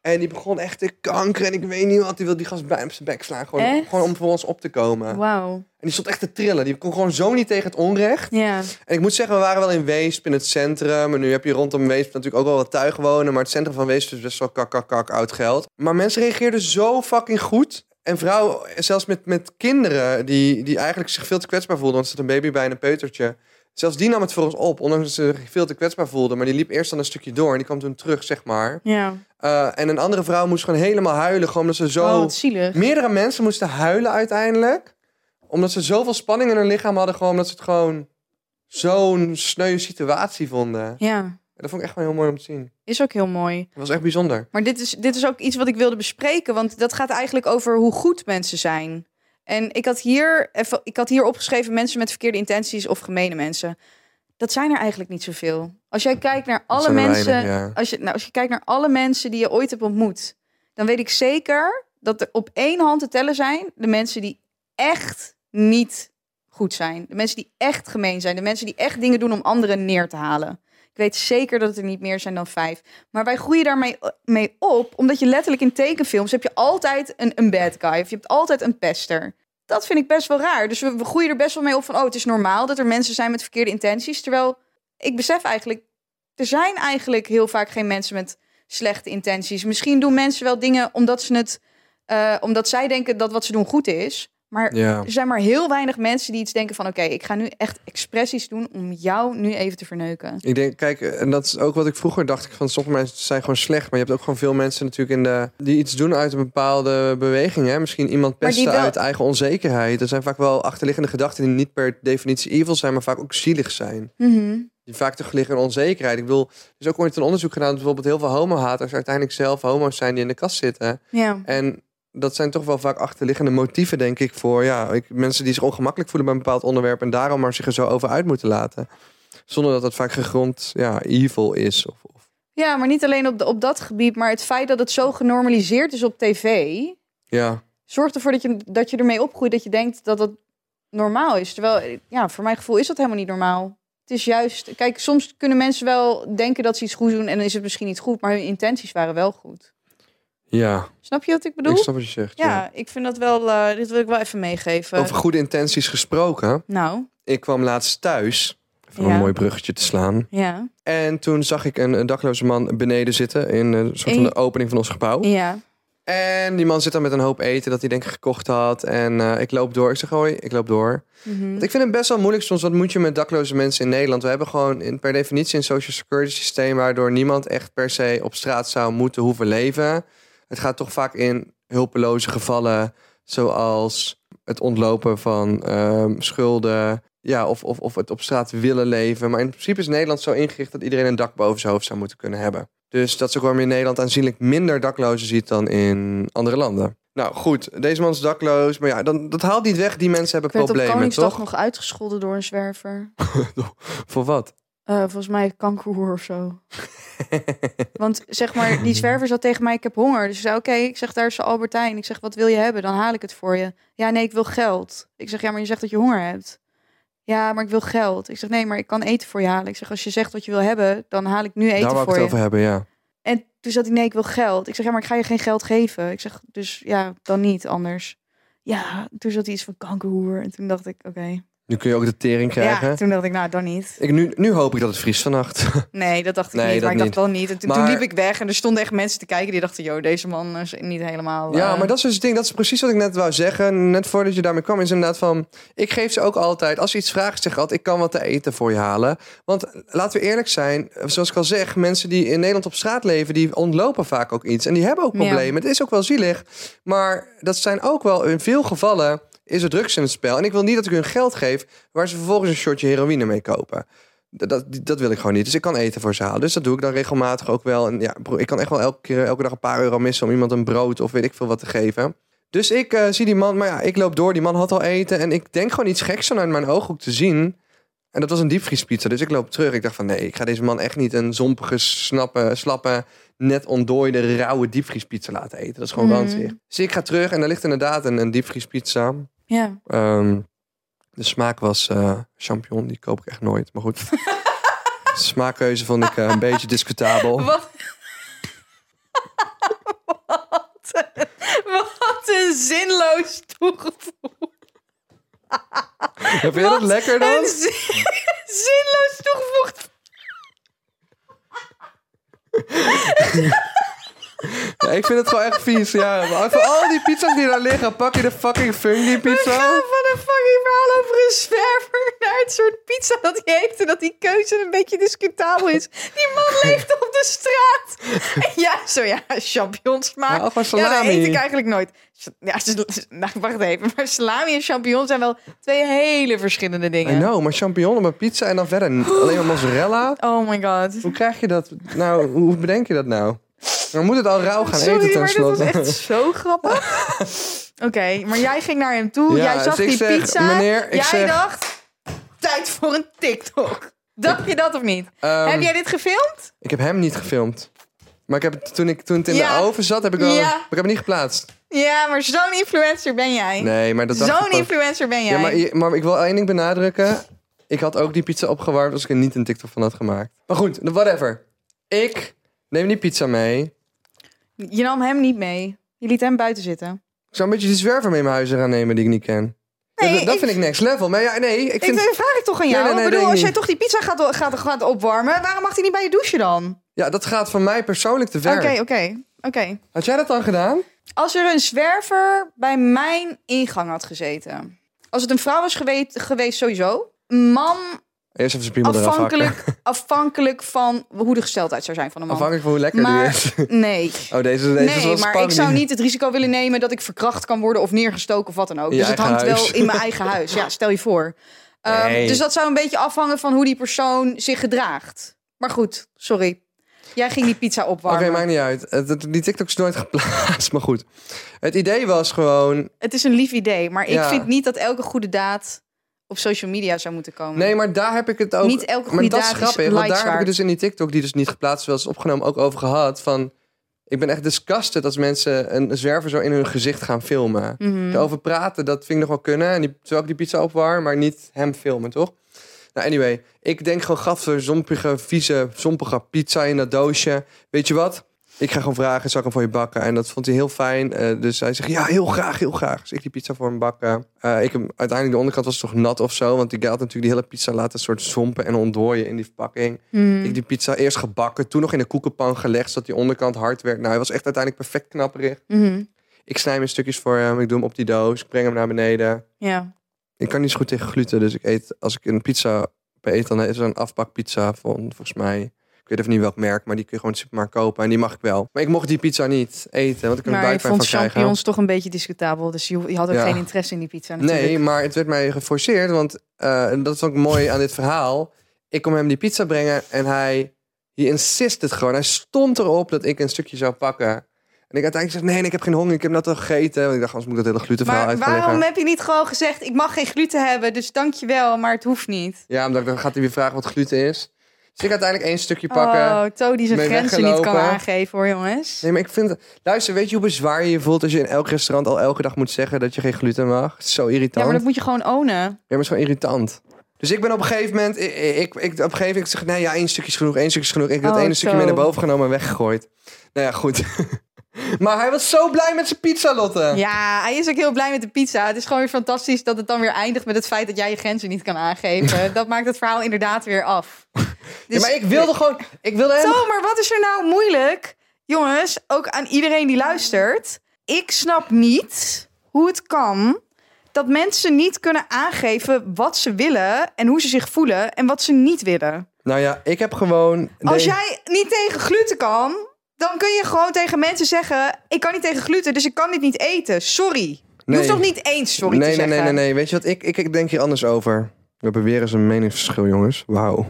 Speaker 4: En die begon echt te kankeren. En ik weet niet wat. Die wilde die gast bij op zijn bek slaan. Gewoon,
Speaker 5: Echt?
Speaker 4: gewoon om voor ons op te komen.
Speaker 5: Wauw.
Speaker 4: En die stond echt te trillen. Die kon gewoon zo niet tegen het onrecht.
Speaker 5: Ja.
Speaker 4: En ik moet zeggen, we waren wel in Weesp, in het centrum. En nu heb je rondom Weesp natuurlijk ook wel wat tuig wonen. Maar het centrum van Weesp is best wel kak, kak, kak, oud geld. Maar mensen reageerden zo fucking goed. En vrouwen, zelfs met, met kinderen, die, die eigenlijk zich veel te kwetsbaar voelden. Want er zat een baby bij en een peutertje. Zelfs die nam het voor ons op, ondanks dat ze zich veel te kwetsbaar voelden. Maar die liep eerst dan een stukje door en die kwam toen terug, zeg maar.
Speaker 5: Ja.
Speaker 4: Eh, en een andere vrouw moest gewoon helemaal huilen, gewoon omdat ze zo...
Speaker 5: Oh, wat zielig.
Speaker 4: Meerdere mensen moesten huilen uiteindelijk. Omdat ze zoveel spanning in hun lichaam hadden. Gewoon omdat ze het gewoon zo'n sneu situatie vonden. En
Speaker 5: Ja.
Speaker 4: dat vond ik echt wel heel mooi om te zien.
Speaker 5: Is ook heel mooi.
Speaker 4: Dat was echt bijzonder.
Speaker 5: Maar dit is, dit is ook iets wat ik wilde bespreken. Want dat gaat eigenlijk over hoe goed mensen zijn. En ik had hier, even, ik had hier opgeschreven mensen met verkeerde intenties of gemene mensen. Dat zijn er eigenlijk niet zoveel. Als jij kijkt naar alle
Speaker 4: zijn er
Speaker 5: mensen.
Speaker 4: weinig, ja.
Speaker 5: als, je, nou, als je kijkt naar alle mensen die je ooit hebt ontmoet. Dan weet ik zeker dat er op één hand te tellen zijn. De mensen die echt niet goed zijn. De mensen die echt gemeen zijn. De mensen die echt dingen doen om anderen neer te halen. Ik weet zeker dat het er niet meer zijn dan vijf. Maar wij groeien daarmee eh, mee op, omdat je letterlijk in tekenfilms heb je altijd een, een bad guy. Of je hebt altijd een pester. Dat vind ik best wel raar. Dus we, we groeien er best wel mee op van, oh, het is normaal dat er mensen zijn met verkeerde intenties. Terwijl ik besef eigenlijk, er zijn eigenlijk heel vaak geen mensen met slechte intenties. Misschien doen mensen wel dingen omdat, ze het, eh, omdat zij denken dat wat ze doen goed is. Maar
Speaker 4: Ja.
Speaker 5: er zijn maar heel weinig mensen die iets denken van... oké, ik ga nu echt expressies doen om jou nu even te verneuken.
Speaker 4: Ik denk, kijk, en dat is ook wat ik vroeger dacht. ik Van sommige mensen zijn gewoon slecht. Maar je hebt ook gewoon veel mensen natuurlijk in de, die iets doen uit een bepaalde beweging. Hè? Misschien iemand
Speaker 5: Maar die
Speaker 4: pesten
Speaker 5: wel-
Speaker 4: uit eigen onzekerheid. Er zijn vaak wel achterliggende gedachten die niet per definitie evil zijn, maar vaak ook zielig zijn.
Speaker 5: Mhm.
Speaker 4: die vaak toch liggen in onzekerheid. Ik bedoel, er is ook ooit een onderzoek gedaan... dat bijvoorbeeld heel veel homohaters uiteindelijk zelf homo's zijn... die in de kast zitten.
Speaker 5: Ja.
Speaker 4: En dat zijn toch wel vaak achterliggende motieven, denk ik... voor ja, ik, mensen die zich ongemakkelijk voelen bij een bepaald onderwerp... en daarom maar zich er zo over uit moeten laten. Zonder dat dat vaak gegrond ja, evil is. Of, of.
Speaker 5: Ja, maar niet alleen op, de, op dat gebied, maar het feit dat het zo genormaliseerd is op tv,
Speaker 4: Ja,
Speaker 5: zorgt ervoor dat je, dat je ermee opgroeit dat je denkt dat dat normaal is. Terwijl, eh, ja, voor mijn gevoel is dat helemaal niet normaal. Het is juist, kijk, soms kunnen mensen wel denken dat ze iets goed doen en dan is het misschien niet goed, maar hun intenties waren wel goed.
Speaker 4: ja.
Speaker 5: Snap je wat ik bedoel?
Speaker 4: Ik snap wat je zegt.
Speaker 5: ja,
Speaker 4: Ja. eh,
Speaker 5: ik vind dat wel, eh, dit wil ik wel even meegeven.
Speaker 4: Over goede intenties gesproken.
Speaker 5: Nou,
Speaker 4: Ik kwam laatst thuis... Even om
Speaker 5: Ja.
Speaker 4: een mooi bruggetje te slaan.
Speaker 5: ja,
Speaker 4: En toen zag ik een, een dakloze man beneden zitten... in eh, een soort van
Speaker 5: En-
Speaker 4: de opening van ons gebouw.
Speaker 5: ja.
Speaker 4: En die man zit dan met een hoop eten dat hij denk ik gekocht had. En eh, ik loop door. Ik zeg, hoi, ik loop door.
Speaker 5: Mhm.
Speaker 4: Want ik vind het best wel moeilijk soms. Wat moet je met dakloze mensen in Nederland? We hebben gewoon in, per definitie een social security systeem... waardoor niemand echt per se op straat zou moeten hoeven leven. Het gaat toch vaak in hulpeloze gevallen... zoals het ontlopen van ehm, schulden... Ja, of, of, of het op straat willen leven. Maar in principe is Nederland zo ingericht... dat iedereen een dak boven zijn hoofd zou moeten kunnen hebben. Dus dat is ook waarom je in Nederland aanzienlijk minder daklozen ziet dan in andere landen. Nou goed, deze man is dakloos. Maar ja, dan, dat haalt niet weg. Die mensen
Speaker 5: Ik
Speaker 4: hebben
Speaker 5: werd op
Speaker 4: problemen,
Speaker 5: Koningsdag
Speaker 4: toch?
Speaker 5: nog uitgescholden door een zwerver.
Speaker 4: Voor wat?
Speaker 5: Eh, volgens mij kankerhoer of
Speaker 4: *laughs*
Speaker 5: zo. Want zeg maar, die zwerver zat tegen mij, ik heb honger. Dus ik zei, oké, ik zeg, daar is de Albertijn. Ik zeg, wat wil je hebben? Dan haal ik het voor je. Ja, nee, ik wil geld. Ik zeg, ja, maar je zegt dat je honger hebt. Ja, maar ik wil geld. Ik zeg, nee, maar ik kan eten voor je halen. Ik zeg, als je zegt wat je wil hebben, dan haal ik nu eten
Speaker 4: Daar wou ik
Speaker 5: voor
Speaker 4: het
Speaker 5: je.
Speaker 4: over hebben, ja.
Speaker 5: En toen zat hij, nee, ik wil geld. Ik zeg, ja, maar ik ga je geen geld geven. Ik zeg, dus ja, dan niet, anders. Ja, toen zat hij iets van kankerhoer. En toen dacht ik, oké.
Speaker 4: Nu kun je ook de tering krijgen.
Speaker 5: Ja, toen dacht ik, nou, dan niet.
Speaker 4: Ik, nu, nu hoop ik dat het vriest vannacht.
Speaker 5: Nee, dat dacht ik
Speaker 4: Nee,
Speaker 5: niet. Maar ik
Speaker 4: dat
Speaker 5: dacht wel niet. En toen, toen
Speaker 4: Maar-
Speaker 5: liep ik weg en er stonden echt mensen te kijken die dachten, joh, deze man is niet helemaal.
Speaker 4: ja,
Speaker 5: eh,
Speaker 4: maar dat is dus het ding. Dat is precies wat ik net wou zeggen. Net voordat je daarmee kwam, is inderdaad van... Ik geef ze ook altijd, als ze iets vragen, zeg altijd... Ik kan wat te eten voor je halen. Want laten we eerlijk zijn. Zoals ik al zeg, mensen die in Nederland op straat leven... die ontlopen vaak ook iets. En die hebben ook
Speaker 5: Ja.
Speaker 4: problemen. Het is ook wel zielig. Maar dat zijn ook wel in veel gevallen... is er drugs in het spel. En ik wil niet dat ik hun geld geef... waar ze vervolgens een shotje heroïne mee kopen. Dat, dat, dat wil ik gewoon niet. Dus ik kan eten voor ze halen. Dus dat doe ik dan regelmatig ook wel. En ja, bro, ik kan echt wel elke, keer, elke dag een paar euro missen om iemand een brood of weet ik veel wat te geven. Dus ik eh, zie die man, maar ja, ik loop door. Die man had al eten. En ik denk gewoon iets geks vanuit mijn ooghoek te zien. En dat was een diepvriespizza. Dus ik loop terug. Ik dacht van nee, ik ga deze man echt niet een zompige, snappe, slappe, net ontdooide, rauwe diepvriespizza laten eten. Dat is gewoon
Speaker 5: Mm.
Speaker 4: ranzig. Dus ik ga terug en daar ligt inderdaad een, een diepvriespizza.
Speaker 5: ja. *laughs*
Speaker 4: Ehm, de smaak was eh champignon. Die koop ik echt nooit. Maar goed. Smaakkeuze vond ik eh, een beetje discutabel.
Speaker 5: *laughs* Wat? wat, een, wat een zinloos toegevoegd.
Speaker 4: Vind je dat lekker dan?
Speaker 5: Een zin- *laughs* zinloos toegevoegd.
Speaker 4: Ja, ik vind het gewoon echt vies, ja. Maar van al die pizza's die daar liggen, pak je de fucking funky
Speaker 5: We gaan
Speaker 4: pizza.
Speaker 5: van een fucking verhaal over een zwerver *laughs* naar het soort pizza dat hij heeft. En dat die keuze een beetje discutabel is. Die man leeft op de straat. *laughs* En ja, zo ja, champignons
Speaker 4: Ja, of
Speaker 5: smaak.
Speaker 4: een
Speaker 5: Ja, nou, dat eet ik
Speaker 4: salami.
Speaker 5: eigenlijk nooit. Ja, s- nou, wacht even. *laughs* Maar salami en champignons zijn wel twee hele verschillende
Speaker 4: I
Speaker 5: dingen.
Speaker 4: know, maar champignon op een pizza en dan verder n- alleen maar mozzarella.
Speaker 5: Oh my god.
Speaker 4: Hoe krijg je dat? Nou, hoe bedenk je dat nou? Dan moet het al rauw gaan
Speaker 5: Sorry,
Speaker 4: eten
Speaker 5: maar
Speaker 4: tenslotte.
Speaker 5: dit was echt
Speaker 4: *laughs*
Speaker 5: zo grappig. Oké, maar jij ging naar hem toe.
Speaker 4: Ja,
Speaker 5: jij zag
Speaker 4: dus ik
Speaker 5: die
Speaker 4: zeg,
Speaker 5: pizza.
Speaker 4: meneer, ik
Speaker 5: jij
Speaker 4: zeg-
Speaker 5: dacht, tijd voor een TikTok. Dacht je dat of niet?
Speaker 4: Ehm,
Speaker 5: Heb jij dit gefilmd?
Speaker 4: Ik heb hem niet gefilmd. Maar ik heb het, toen, ik, toen het in
Speaker 5: Ja.
Speaker 4: de oven zat, heb ik wel.
Speaker 5: Ja.
Speaker 4: maar ik heb het niet geplaatst.
Speaker 5: Ja, maar zo'n influencer ben jij.
Speaker 4: Nee, maar dat dacht ik
Speaker 5: zo'n
Speaker 4: gewoon-
Speaker 5: influencer ben jij.
Speaker 4: Ja, maar, je- maar ik wil één ding benadrukken. Ik had ook die pizza opgewarmd als ik er niet een TikTok van had gemaakt. Maar goed, whatever. Ik neem die pizza mee.
Speaker 5: Je nam hem niet mee. Je liet hem buiten zitten.
Speaker 4: Ik zou een beetje die zwerver mee in mijn huis gaan nemen die ik niet ken.
Speaker 5: Nee,
Speaker 4: dat, dat
Speaker 5: ik-
Speaker 4: vind ik next level. Maar ja, nee, ik
Speaker 5: Ik eh,
Speaker 4: vind...
Speaker 5: vraag ik toch aan jou.
Speaker 4: Nee, nee, nee,
Speaker 5: ik bedoel,
Speaker 4: denk
Speaker 5: als jij
Speaker 4: niet.
Speaker 5: toch die pizza gaat, gaat, gaat opwarmen, waarom mag hij niet bij je douchen dan?
Speaker 4: Ja, dat gaat van mij persoonlijk te ver.
Speaker 5: Oké, oké, oké.
Speaker 4: Had jij dat dan gedaan?
Speaker 5: Als er een zwerver bij mijn ingang had gezeten. Als het een vrouw was geweest, geweest sowieso. Een Man *laughs*
Speaker 4: Eerst even zijn piemel eraf hakken. *laughs*
Speaker 5: afhankelijk, afhankelijk van hoe de gesteldheid zou zijn van een man.
Speaker 4: Afhankelijk van hoe lekker
Speaker 5: Maar-
Speaker 4: die is. *laughs*
Speaker 5: Nee.
Speaker 4: Oh, deze, deze is wel
Speaker 5: Nee, maar ik
Speaker 4: spannend.
Speaker 5: zou niet het risico willen nemen dat ik verkracht kan worden of neergestoken of wat dan ook.
Speaker 4: In je
Speaker 5: dus het
Speaker 4: eigen
Speaker 5: hangt
Speaker 4: huis.
Speaker 5: wel in mijn eigen huis. Ja, stel je voor. Ehm,
Speaker 4: Nee.
Speaker 5: Dus dat zou een beetje afhangen van hoe die persoon zich gedraagt. Maar goed, sorry. Jij ging die
Speaker 4: *laughs*
Speaker 5: pizza
Speaker 4: Oké,
Speaker 5: opwarmen.
Speaker 4: maakt niet uit. Het- het- Die TikTok is nooit *laughs* geplaatst, maar goed. Het idee was gewoon...
Speaker 5: Het is een lief idee, maar ik
Speaker 4: Ja.
Speaker 5: vind niet dat elke goede daad op social media zou moeten komen.
Speaker 4: Nee, maar daar heb ik het ook...
Speaker 5: Niet elke
Speaker 4: Maar
Speaker 5: goede
Speaker 4: dat is
Speaker 5: daad is
Speaker 4: grappig, want
Speaker 5: likes
Speaker 4: daar heb ik het
Speaker 5: waard.
Speaker 4: dus in die TikTok... die dus niet geplaatst was, is opgenomen, ook over gehad. Van, ik ben echt disgusted als mensen een zwerver zo in hun gezicht gaan filmen.
Speaker 5: Mhm.
Speaker 4: Erover praten, dat vind ik nog wel kunnen. En die, terwijl ik die pizza opwarm, maar niet hem filmen, toch? Nou, anyway. Ik denk gewoon, gaffer, zompige, vieze, zompige pizza in dat doosje. Weet je wat? Ik ga gewoon vragen, zal ik hem voor je bakken? En dat vond hij heel fijn. eh, dus hij zegt, ja, heel graag, heel graag. Dus ik die pizza voor hem bakken. Eh, ik hem, uiteindelijk, de onderkant was toch nat of zo. Want die guy had natuurlijk die hele pizza laten soort zompen en ontdooien in die verpakking.
Speaker 5: Mhm.
Speaker 4: Ik die pizza eerst gebakken, toen nog in de koekenpan gelegd... zodat die onderkant hard werd. Nou, hij was echt uiteindelijk perfect knapperig.
Speaker 5: Mhm.
Speaker 4: Ik snij hem in stukjes voor hem. Ik doe hem op die doos. Ik breng hem naar beneden.
Speaker 5: Ja.
Speaker 4: Ik kan niet zo goed tegen gluten. Dus ik eet, als ik een pizza bij eet, dan is er een afbakpizza van volgens mij. Ik weet even niet welk merk, maar die kun je gewoon in de supermarkt kopen. En die mag ik wel. Maar ik mocht die pizza niet eten, want ik heb een
Speaker 5: Maar je
Speaker 4: buikpijn
Speaker 5: vond
Speaker 4: van krijgen.
Speaker 5: champignons toch een beetje discutabel. Dus je je had ook
Speaker 4: Ja.
Speaker 5: geen interesse in die pizza natuurlijk.
Speaker 4: Nee, maar het werd mij geforceerd. Want eh, en dat is ook mooi aan dit verhaal. Ik kom hem die pizza brengen en hij... Hij insisted gewoon. Hij stond erop dat ik een stukje zou pakken. En ik uiteindelijk zeg, nee, nee, ik heb geen honger. Ik heb net al gegeten. Want ik dacht, anders moet ik dat hele glutenverhaal
Speaker 5: Maar
Speaker 4: uitleggen.
Speaker 5: waarom heb je niet gewoon gezegd, ik mag geen gluten hebben, dus dankjewel, maar het hoeft niet.
Speaker 4: Ja, omdat ik- dan gaat hij weer vragen wat gluten is. Dus ik uiteindelijk één stukje pakken.
Speaker 5: Oh, Toon die zijn
Speaker 4: ben je
Speaker 5: grenzen niet kan
Speaker 4: weggelopen.
Speaker 5: aangeven hoor jongens.
Speaker 4: Nee, maar ik vind... Luister, weet je hoe bezwaar je je voelt als je in elk restaurant al elke dag moet zeggen dat je geen gluten mag? Het is zo
Speaker 5: Ja,
Speaker 4: irritant. Ja,
Speaker 5: maar dat moet je gewoon ownen.
Speaker 4: maar het is gewoon irritant. Dus ik ben op een gegeven moment... Ik, ik, ik- op een gegeven moment zeg ik, nee, ja, één stukje is genoeg, één stukje is genoeg. Ik heb dat
Speaker 5: Oh,
Speaker 4: ene stukje mee
Speaker 5: zo.
Speaker 4: naar boven genomen en weggegooid. Nou ja, goed. *laughs* maar hij was zo blij met zijn pizza, Lotte.
Speaker 5: Ja, hij is ook heel blij met de pizza. Het is gewoon weer fantastisch dat het dan weer eindigt met het feit dat jij je grenzen niet kan
Speaker 4: *laughs*
Speaker 5: aangeven. dat maakt het verhaal inderdaad weer af. Dus
Speaker 4: Ja, maar ik wilde gewoon... Ik wilde hem...
Speaker 5: Zo, maar wat is er nou moeilijk? Jongens, ook aan iedereen die luistert. Ik snap niet hoe het kan dat mensen niet kunnen aangeven wat ze willen en hoe ze zich voelen en wat ze niet willen.
Speaker 4: Nou ja, ik heb gewoon...
Speaker 5: Als
Speaker 4: Nee.
Speaker 5: jij niet tegen gluten kan, dan kun je gewoon tegen mensen zeggen: Ik kan niet tegen gluten, dus ik kan dit niet eten. Sorry. Je
Speaker 4: Nee.
Speaker 5: hoeft toch niet eens sorry
Speaker 4: nee,
Speaker 5: te
Speaker 4: nee,
Speaker 5: zeggen?
Speaker 4: nee, nee, nee. Weet je wat? Ik, ik, ik denk hier anders over. We hebben weer eens een meningsverschil, jongens. Wauw.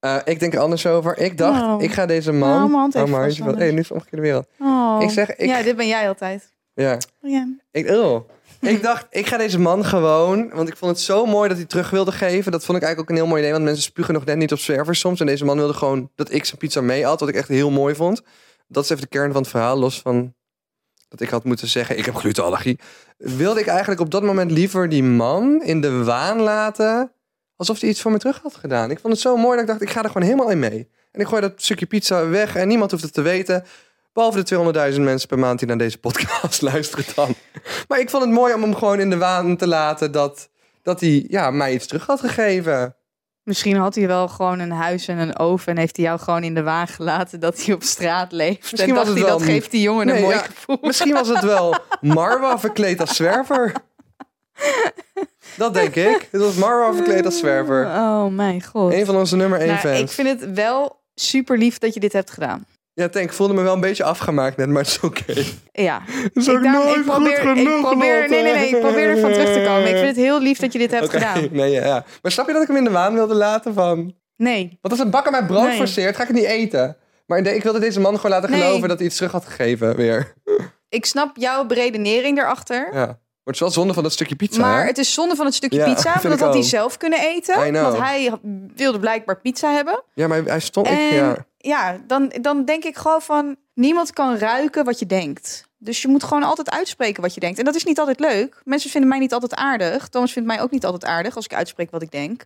Speaker 4: Eh, ik denk er anders over. Ik dacht,
Speaker 5: Nou.
Speaker 4: ik ga deze man...
Speaker 5: Nou, mijn hand even
Speaker 4: oh, maar
Speaker 5: vast,
Speaker 4: je wel-
Speaker 5: anders.
Speaker 4: hey, nu is het omgekeerde wereld.
Speaker 5: Oh.
Speaker 4: Ik zeg, ik-
Speaker 5: Ja, dit ben jij altijd.
Speaker 4: Ja.
Speaker 5: Ja.
Speaker 4: Ik, oh. ik dacht, ik ga deze man gewoon... Want ik vond het zo mooi dat hij terug wilde geven. Dat vond ik eigenlijk ook een heel mooi idee. Want mensen spugen nog net niet op servers soms. En deze man wilde gewoon dat ik zijn pizza mee at. Wat ik echt heel mooi vond. Dat is even de kern van het verhaal. Los van dat ik had moeten zeggen, ik heb glutenallergie. Wilde ik eigenlijk op dat moment liever die man in de waan laten... Alsof hij iets voor me terug had gedaan. Ik vond het zo mooi dat ik dacht, ik ga er gewoon helemaal in mee. En ik gooi dat stukje pizza weg en niemand hoeft het te weten. Behalve de 200.000 mensen per maand die naar deze podcast *laughs* luisteren dan. Maar ik vond het mooi om hem gewoon in de waan te laten dat, dat hij ja, mij iets terug had gegeven.
Speaker 5: Misschien had hij wel gewoon een huis en een oven en heeft hij jou gewoon in de waan gelaten dat hij op straat leeft.
Speaker 4: Misschien was
Speaker 5: en dacht
Speaker 4: het
Speaker 5: hij,
Speaker 4: wel
Speaker 5: dat geeft die jongen
Speaker 4: Nee,
Speaker 5: een mooi
Speaker 4: ja.
Speaker 5: gevoel.
Speaker 4: Misschien was het
Speaker 5: *laughs*
Speaker 4: wel Marwa verkleed als zwerver. Dat denk ik. Het was Marwa verkleed als zwerver.
Speaker 5: Oh mijn god.
Speaker 4: Een van onze nummer 1
Speaker 5: Nou,
Speaker 4: fans.
Speaker 5: ik vind het wel super lief dat je dit hebt gedaan.
Speaker 4: Ja, Tank, ik voelde me wel een beetje afgemaakt net, maar het is oké.
Speaker 5: Ja,
Speaker 4: is
Speaker 5: ik,
Speaker 4: ook
Speaker 5: daarom-
Speaker 4: nooit
Speaker 5: ik probeer,
Speaker 4: goed genoeg,
Speaker 5: ik probeer, nee, nee, nee, ik probeer ervan terug te komen. Ik vind het heel lief dat je dit hebt
Speaker 4: Oké,
Speaker 5: gedaan.
Speaker 4: Nee, ja, ja. Maar snap je dat ik hem in de waan wilde laten van...
Speaker 5: Nee,
Speaker 4: Want als een bakker mij brood
Speaker 5: Nee.
Speaker 4: forceert, ga ik het niet eten. Maar de- ik wilde deze man gewoon laten
Speaker 5: Nee.
Speaker 4: geloven dat hij iets terug had gegeven weer.
Speaker 5: ik snap jouw beredenering daarachter.
Speaker 4: Ja. Maar het is wel zonde van dat stukje pizza,
Speaker 5: Maar
Speaker 4: hè?
Speaker 5: het is zonde van het stukje
Speaker 4: Ja,
Speaker 5: pizza, want
Speaker 4: vind
Speaker 5: dat
Speaker 4: ik
Speaker 5: had hij
Speaker 4: ook.
Speaker 5: zelf kunnen
Speaker 4: I
Speaker 5: eten.
Speaker 4: know.
Speaker 5: Want hij wilde blijkbaar pizza hebben.
Speaker 4: Ja, maar hij stond... ik-
Speaker 5: En ja,
Speaker 4: ja.
Speaker 5: dan, dan denk ik gewoon van... niemand kan ruiken wat je denkt. Dus je moet gewoon altijd uitspreken wat je denkt. En dat is niet altijd leuk. Mensen vinden mij niet altijd aardig. Thomas vindt mij ook niet altijd aardig als ik uitspreek wat ik denk.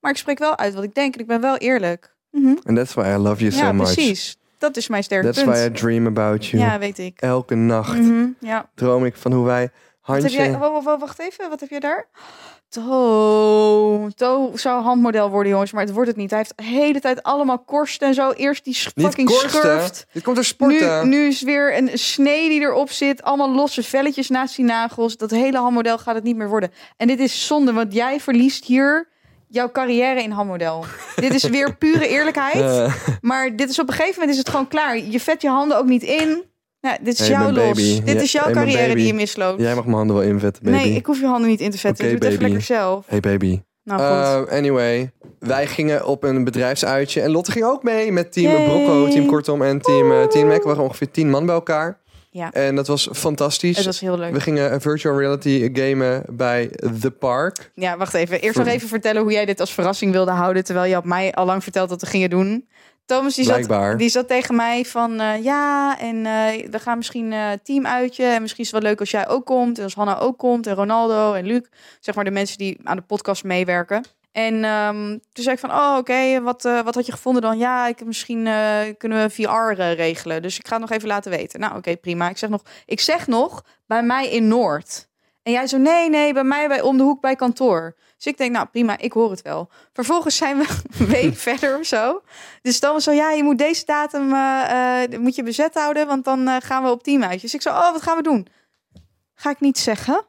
Speaker 5: Maar ik spreek wel uit wat ik denk en ik ben wel eerlijk. Mhm.
Speaker 4: And that's why I love you
Speaker 5: ja,
Speaker 4: so much.
Speaker 5: precies. Dat is mijn sterke
Speaker 4: That's
Speaker 5: punt.
Speaker 4: why I dream about you.
Speaker 5: Ja, weet ik.
Speaker 4: Elke nacht
Speaker 5: Mhm, ja.
Speaker 4: droom ik van hoe wij
Speaker 5: Wat
Speaker 4: handje...
Speaker 5: heb jij, wa- wa- wa- wacht even, wat heb jij daar? To, To zou handmodel worden, jongens, maar het wordt het niet. Hij heeft de hele tijd allemaal korsten en zo. Eerst die sch-
Speaker 4: Niet
Speaker 5: fucking
Speaker 4: korsten.
Speaker 5: schurft.
Speaker 4: Dit komt door sporten.
Speaker 5: Nu, nu is weer een snee die erop zit. Allemaal losse velletjes naast die nagels. Dat hele handmodel gaat het niet meer worden. En dit is zonde, want jij verliest hier jouw carrière in
Speaker 4: *laughs*
Speaker 5: handmodel. dit is weer pure eerlijkheid.
Speaker 4: Eh, *laughs*
Speaker 5: Maar dit is op een gegeven moment is het gewoon klaar. Je vet je handen ook niet in. Nou, dit is
Speaker 4: Hey,
Speaker 5: jouw
Speaker 4: mijn
Speaker 5: los.
Speaker 4: baby.
Speaker 5: Dit
Speaker 4: Ja,
Speaker 5: is jouw
Speaker 4: hey, mijn
Speaker 5: carrière
Speaker 4: baby.
Speaker 5: die je misloopt.
Speaker 4: jij mag mijn handen wel invetten, baby.
Speaker 5: Nee, ik hoef je handen niet in te vetten.
Speaker 4: Oké,
Speaker 5: Doe het even
Speaker 4: baby.
Speaker 5: lekker zelf.
Speaker 4: Hey, baby.
Speaker 5: Nou goed.
Speaker 4: Eh, anyway, wij gingen op een bedrijfsuitje en Lotte ging ook mee met team
Speaker 5: Yay.
Speaker 4: Brocco, team Kortom en team, eh, team Mac. We waren ongeveer tien man bij elkaar.
Speaker 5: Ja.
Speaker 4: En dat was fantastisch.
Speaker 5: het was heel leuk.
Speaker 4: We gingen een virtual reality gamen bij The Park.
Speaker 5: Ja, wacht even. Eerst nog even vertellen hoe jij dit als verrassing wilde houden. Terwijl je had mij al lang verteld dat we gingen doen. Thomas die zat,
Speaker 4: Blijkbaar.
Speaker 5: die zat tegen mij van eh, ja, en eh, we gaan misschien eh team uitje. En misschien is het wel leuk als jij ook komt. En als Hanna ook komt. En Ronaldo en Luc. Zeg maar de mensen die aan de podcast meewerken. En ehm, toen zei ik van, oh oké, wat, eh, wat had je gevonden dan? Ja, ik, misschien eh, kunnen we VR eh, regelen. Dus ik ga het nog even laten weten. Nou oké, prima. Ik zeg, nog, ik zeg nog, bij mij in Noord. En jij zo, nee, nee, bij mij bij, om de hoek bij kantoor. Dus ik denk, nou prima, ik hoor het wel. Vervolgens zijn we een week verder of zo. Dus dan was zo, ja, je moet deze datum eh, eh, moet je bezet houden, want dan eh, gaan we op team uit. Dus ik zo, oh, wat gaan we doen? Ga ik niet
Speaker 4: *laughs*
Speaker 5: zeggen.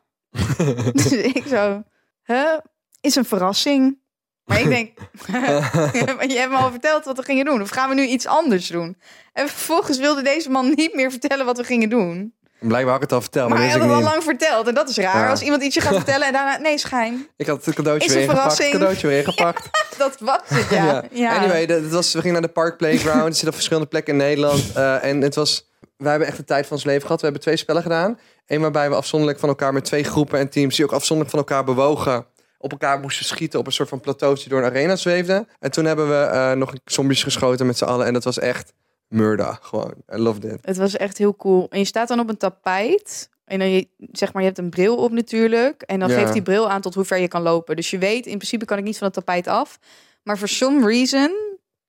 Speaker 5: dus ik zo, huh? Is een verrassing. Maar ik denk, *laughs* maar je hebt me al verteld wat we gingen doen. Of gaan we nu iets anders doen? En vervolgens wilde deze man niet meer vertellen wat we gingen doen.
Speaker 4: Blijkbaar had ik het al verteld, maar,
Speaker 5: Maar hij
Speaker 4: dat
Speaker 5: had
Speaker 4: wist
Speaker 5: het
Speaker 4: ik
Speaker 5: al
Speaker 4: niet.
Speaker 5: lang verteld. En dat is raar.
Speaker 4: Ja.
Speaker 5: Als iemand ietsje gaat vertellen en daarna... Nee, schijn.
Speaker 4: Ik had het cadeautje
Speaker 5: Is
Speaker 4: weer
Speaker 5: een
Speaker 4: ingepakt. Het
Speaker 5: verrassing.
Speaker 4: cadeautje
Speaker 5: *laughs*
Speaker 4: weer ingepakt.
Speaker 5: Dat was
Speaker 4: *laughs*
Speaker 5: het, ja. ja.
Speaker 4: Anyway, dat, dat was, we gingen naar de Park Playground. Er zitten op verschillende plekken in Nederland. Eh, en het was, wij hebben echt de tijd van ons leven gehad. We hebben twee spellen gedaan. Eén waarbij we afzonderlijk van elkaar met twee groepen en teams... die ook afzonderlijk van elkaar bewogen... op elkaar moesten schieten op een soort van plateaus die door een arena zweefden. En toen hebben we eh, nog zombies geschoten met z'n allen. En dat was echt murder. Gewoon, I loved it.
Speaker 5: Het was echt heel cool. En je staat dan op een tapijt. En dan je, zeg maar, je hebt een bril op natuurlijk. En dan
Speaker 4: Ja.
Speaker 5: geeft die bril aan tot hoe ver je kan lopen. Dus je weet, in principe kan ik niet van het tapijt af. Maar for some reason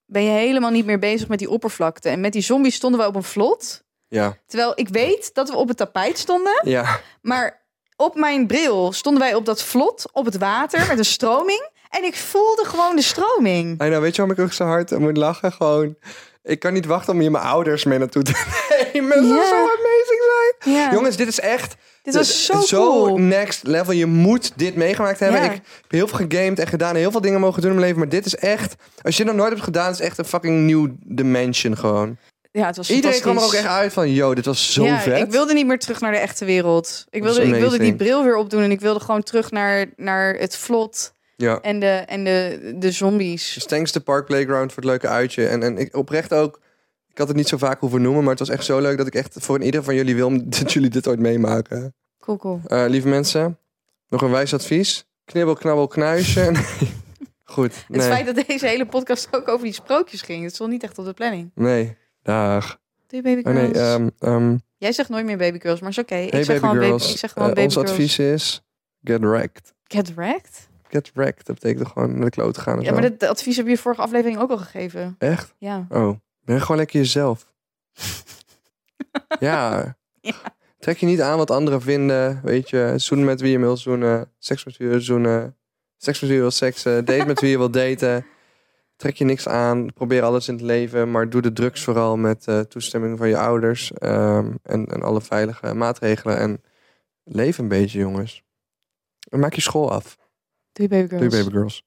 Speaker 5: ben je helemaal niet meer bezig met die oppervlakte. En met die zombies stonden we op een vlot.
Speaker 4: Ja,
Speaker 5: Terwijl ik weet dat we op het tapijt stonden.
Speaker 4: ja.
Speaker 5: Maar op mijn bril stonden wij op dat vlot, op het water, met een stroming. En ik voelde gewoon de stroming.
Speaker 4: I know, weet je waarom ik ook zo hard om moet lachen? Gewoon, ik kan niet wachten om hier mijn ouders mee naartoe te *laughs* nemen. Dat zou
Speaker 5: Ja.
Speaker 4: zo amazing zijn.
Speaker 5: Ja.
Speaker 4: Jongens, dit is echt...
Speaker 5: dit was zo, cool.
Speaker 4: next level. Je moet dit meegemaakt hebben.
Speaker 5: Ja.
Speaker 4: Ik heb heel veel gegamed en gedaan. en Heel veel dingen mogen doen in mijn leven. Maar dit is echt... Als je dit nog nooit hebt gedaan, is het echt een fucking new dimension gewoon.
Speaker 5: Ja, het was
Speaker 4: Iedereen kwam er ook
Speaker 5: fantastisch.
Speaker 4: echt uit van... Yo, dit was zo
Speaker 5: ja,
Speaker 4: vet.
Speaker 5: Ik wilde niet meer terug naar de echte wereld. Ik
Speaker 4: Dat is
Speaker 5: wilde, ik wilde die
Speaker 4: amazing.
Speaker 5: bril weer opdoen en ik wilde gewoon terug naar, naar het vlot
Speaker 4: Ja.
Speaker 5: en de, en de, de zombies.
Speaker 4: Dus thanks de Park Playground voor het leuke uitje. En, en ik oprecht ook... Ik had het niet zo vaak hoeven noemen, maar het was echt zo leuk dat ik echt voor ieder van jullie wil *laughs* dat jullie dit ooit meemaken.
Speaker 5: Cool, cool.
Speaker 4: Eh, lieve mensen, nog een wijs advies. Knibbel, knabbel, knuisje. *laughs* Goed.
Speaker 5: Het
Speaker 4: Nee.
Speaker 5: feit dat deze hele podcast ook over die sprookjes ging, dat stond niet echt op de planning.
Speaker 4: Nee. Dag.
Speaker 5: Doe je baby
Speaker 4: Oh
Speaker 5: girls?
Speaker 4: nee, ehm ehm,
Speaker 5: Jij zegt nooit meer baby girls, maar is oké.
Speaker 4: Hey Eh,
Speaker 5: ik, zeg
Speaker 4: baby
Speaker 5: gewoon
Speaker 4: girls,
Speaker 5: baby, ik zeg gewoon
Speaker 4: eh,
Speaker 5: baby
Speaker 4: ons
Speaker 5: girls.
Speaker 4: advies is get wrecked.
Speaker 5: Get wrecked?
Speaker 4: Get wrecked. Dat betekent toch gewoon naar de kloot gaan en
Speaker 5: Ja, maar
Speaker 4: zo.
Speaker 5: dat advies heb je vorige aflevering ook al gegeven.
Speaker 4: Echt?
Speaker 5: Ja.
Speaker 4: Oh. Ben gewoon lekker jezelf. ja.
Speaker 5: Ja.
Speaker 4: Trek je niet aan wat anderen vinden. Weet je, zoen met wie je wil zoenen. Seks met wie je wil zoenen. Seks met wie je wil seksen. Date met wie je wil daten. Trek je niks aan. Probeer alles in het leven. Maar doe de drugs vooral met eh, toestemming van je ouders. ehm, en, en alle veilige maatregelen. En leef een beetje, jongens. En maak je school af.
Speaker 5: Doei baby girls.
Speaker 4: Doe je, baby girls.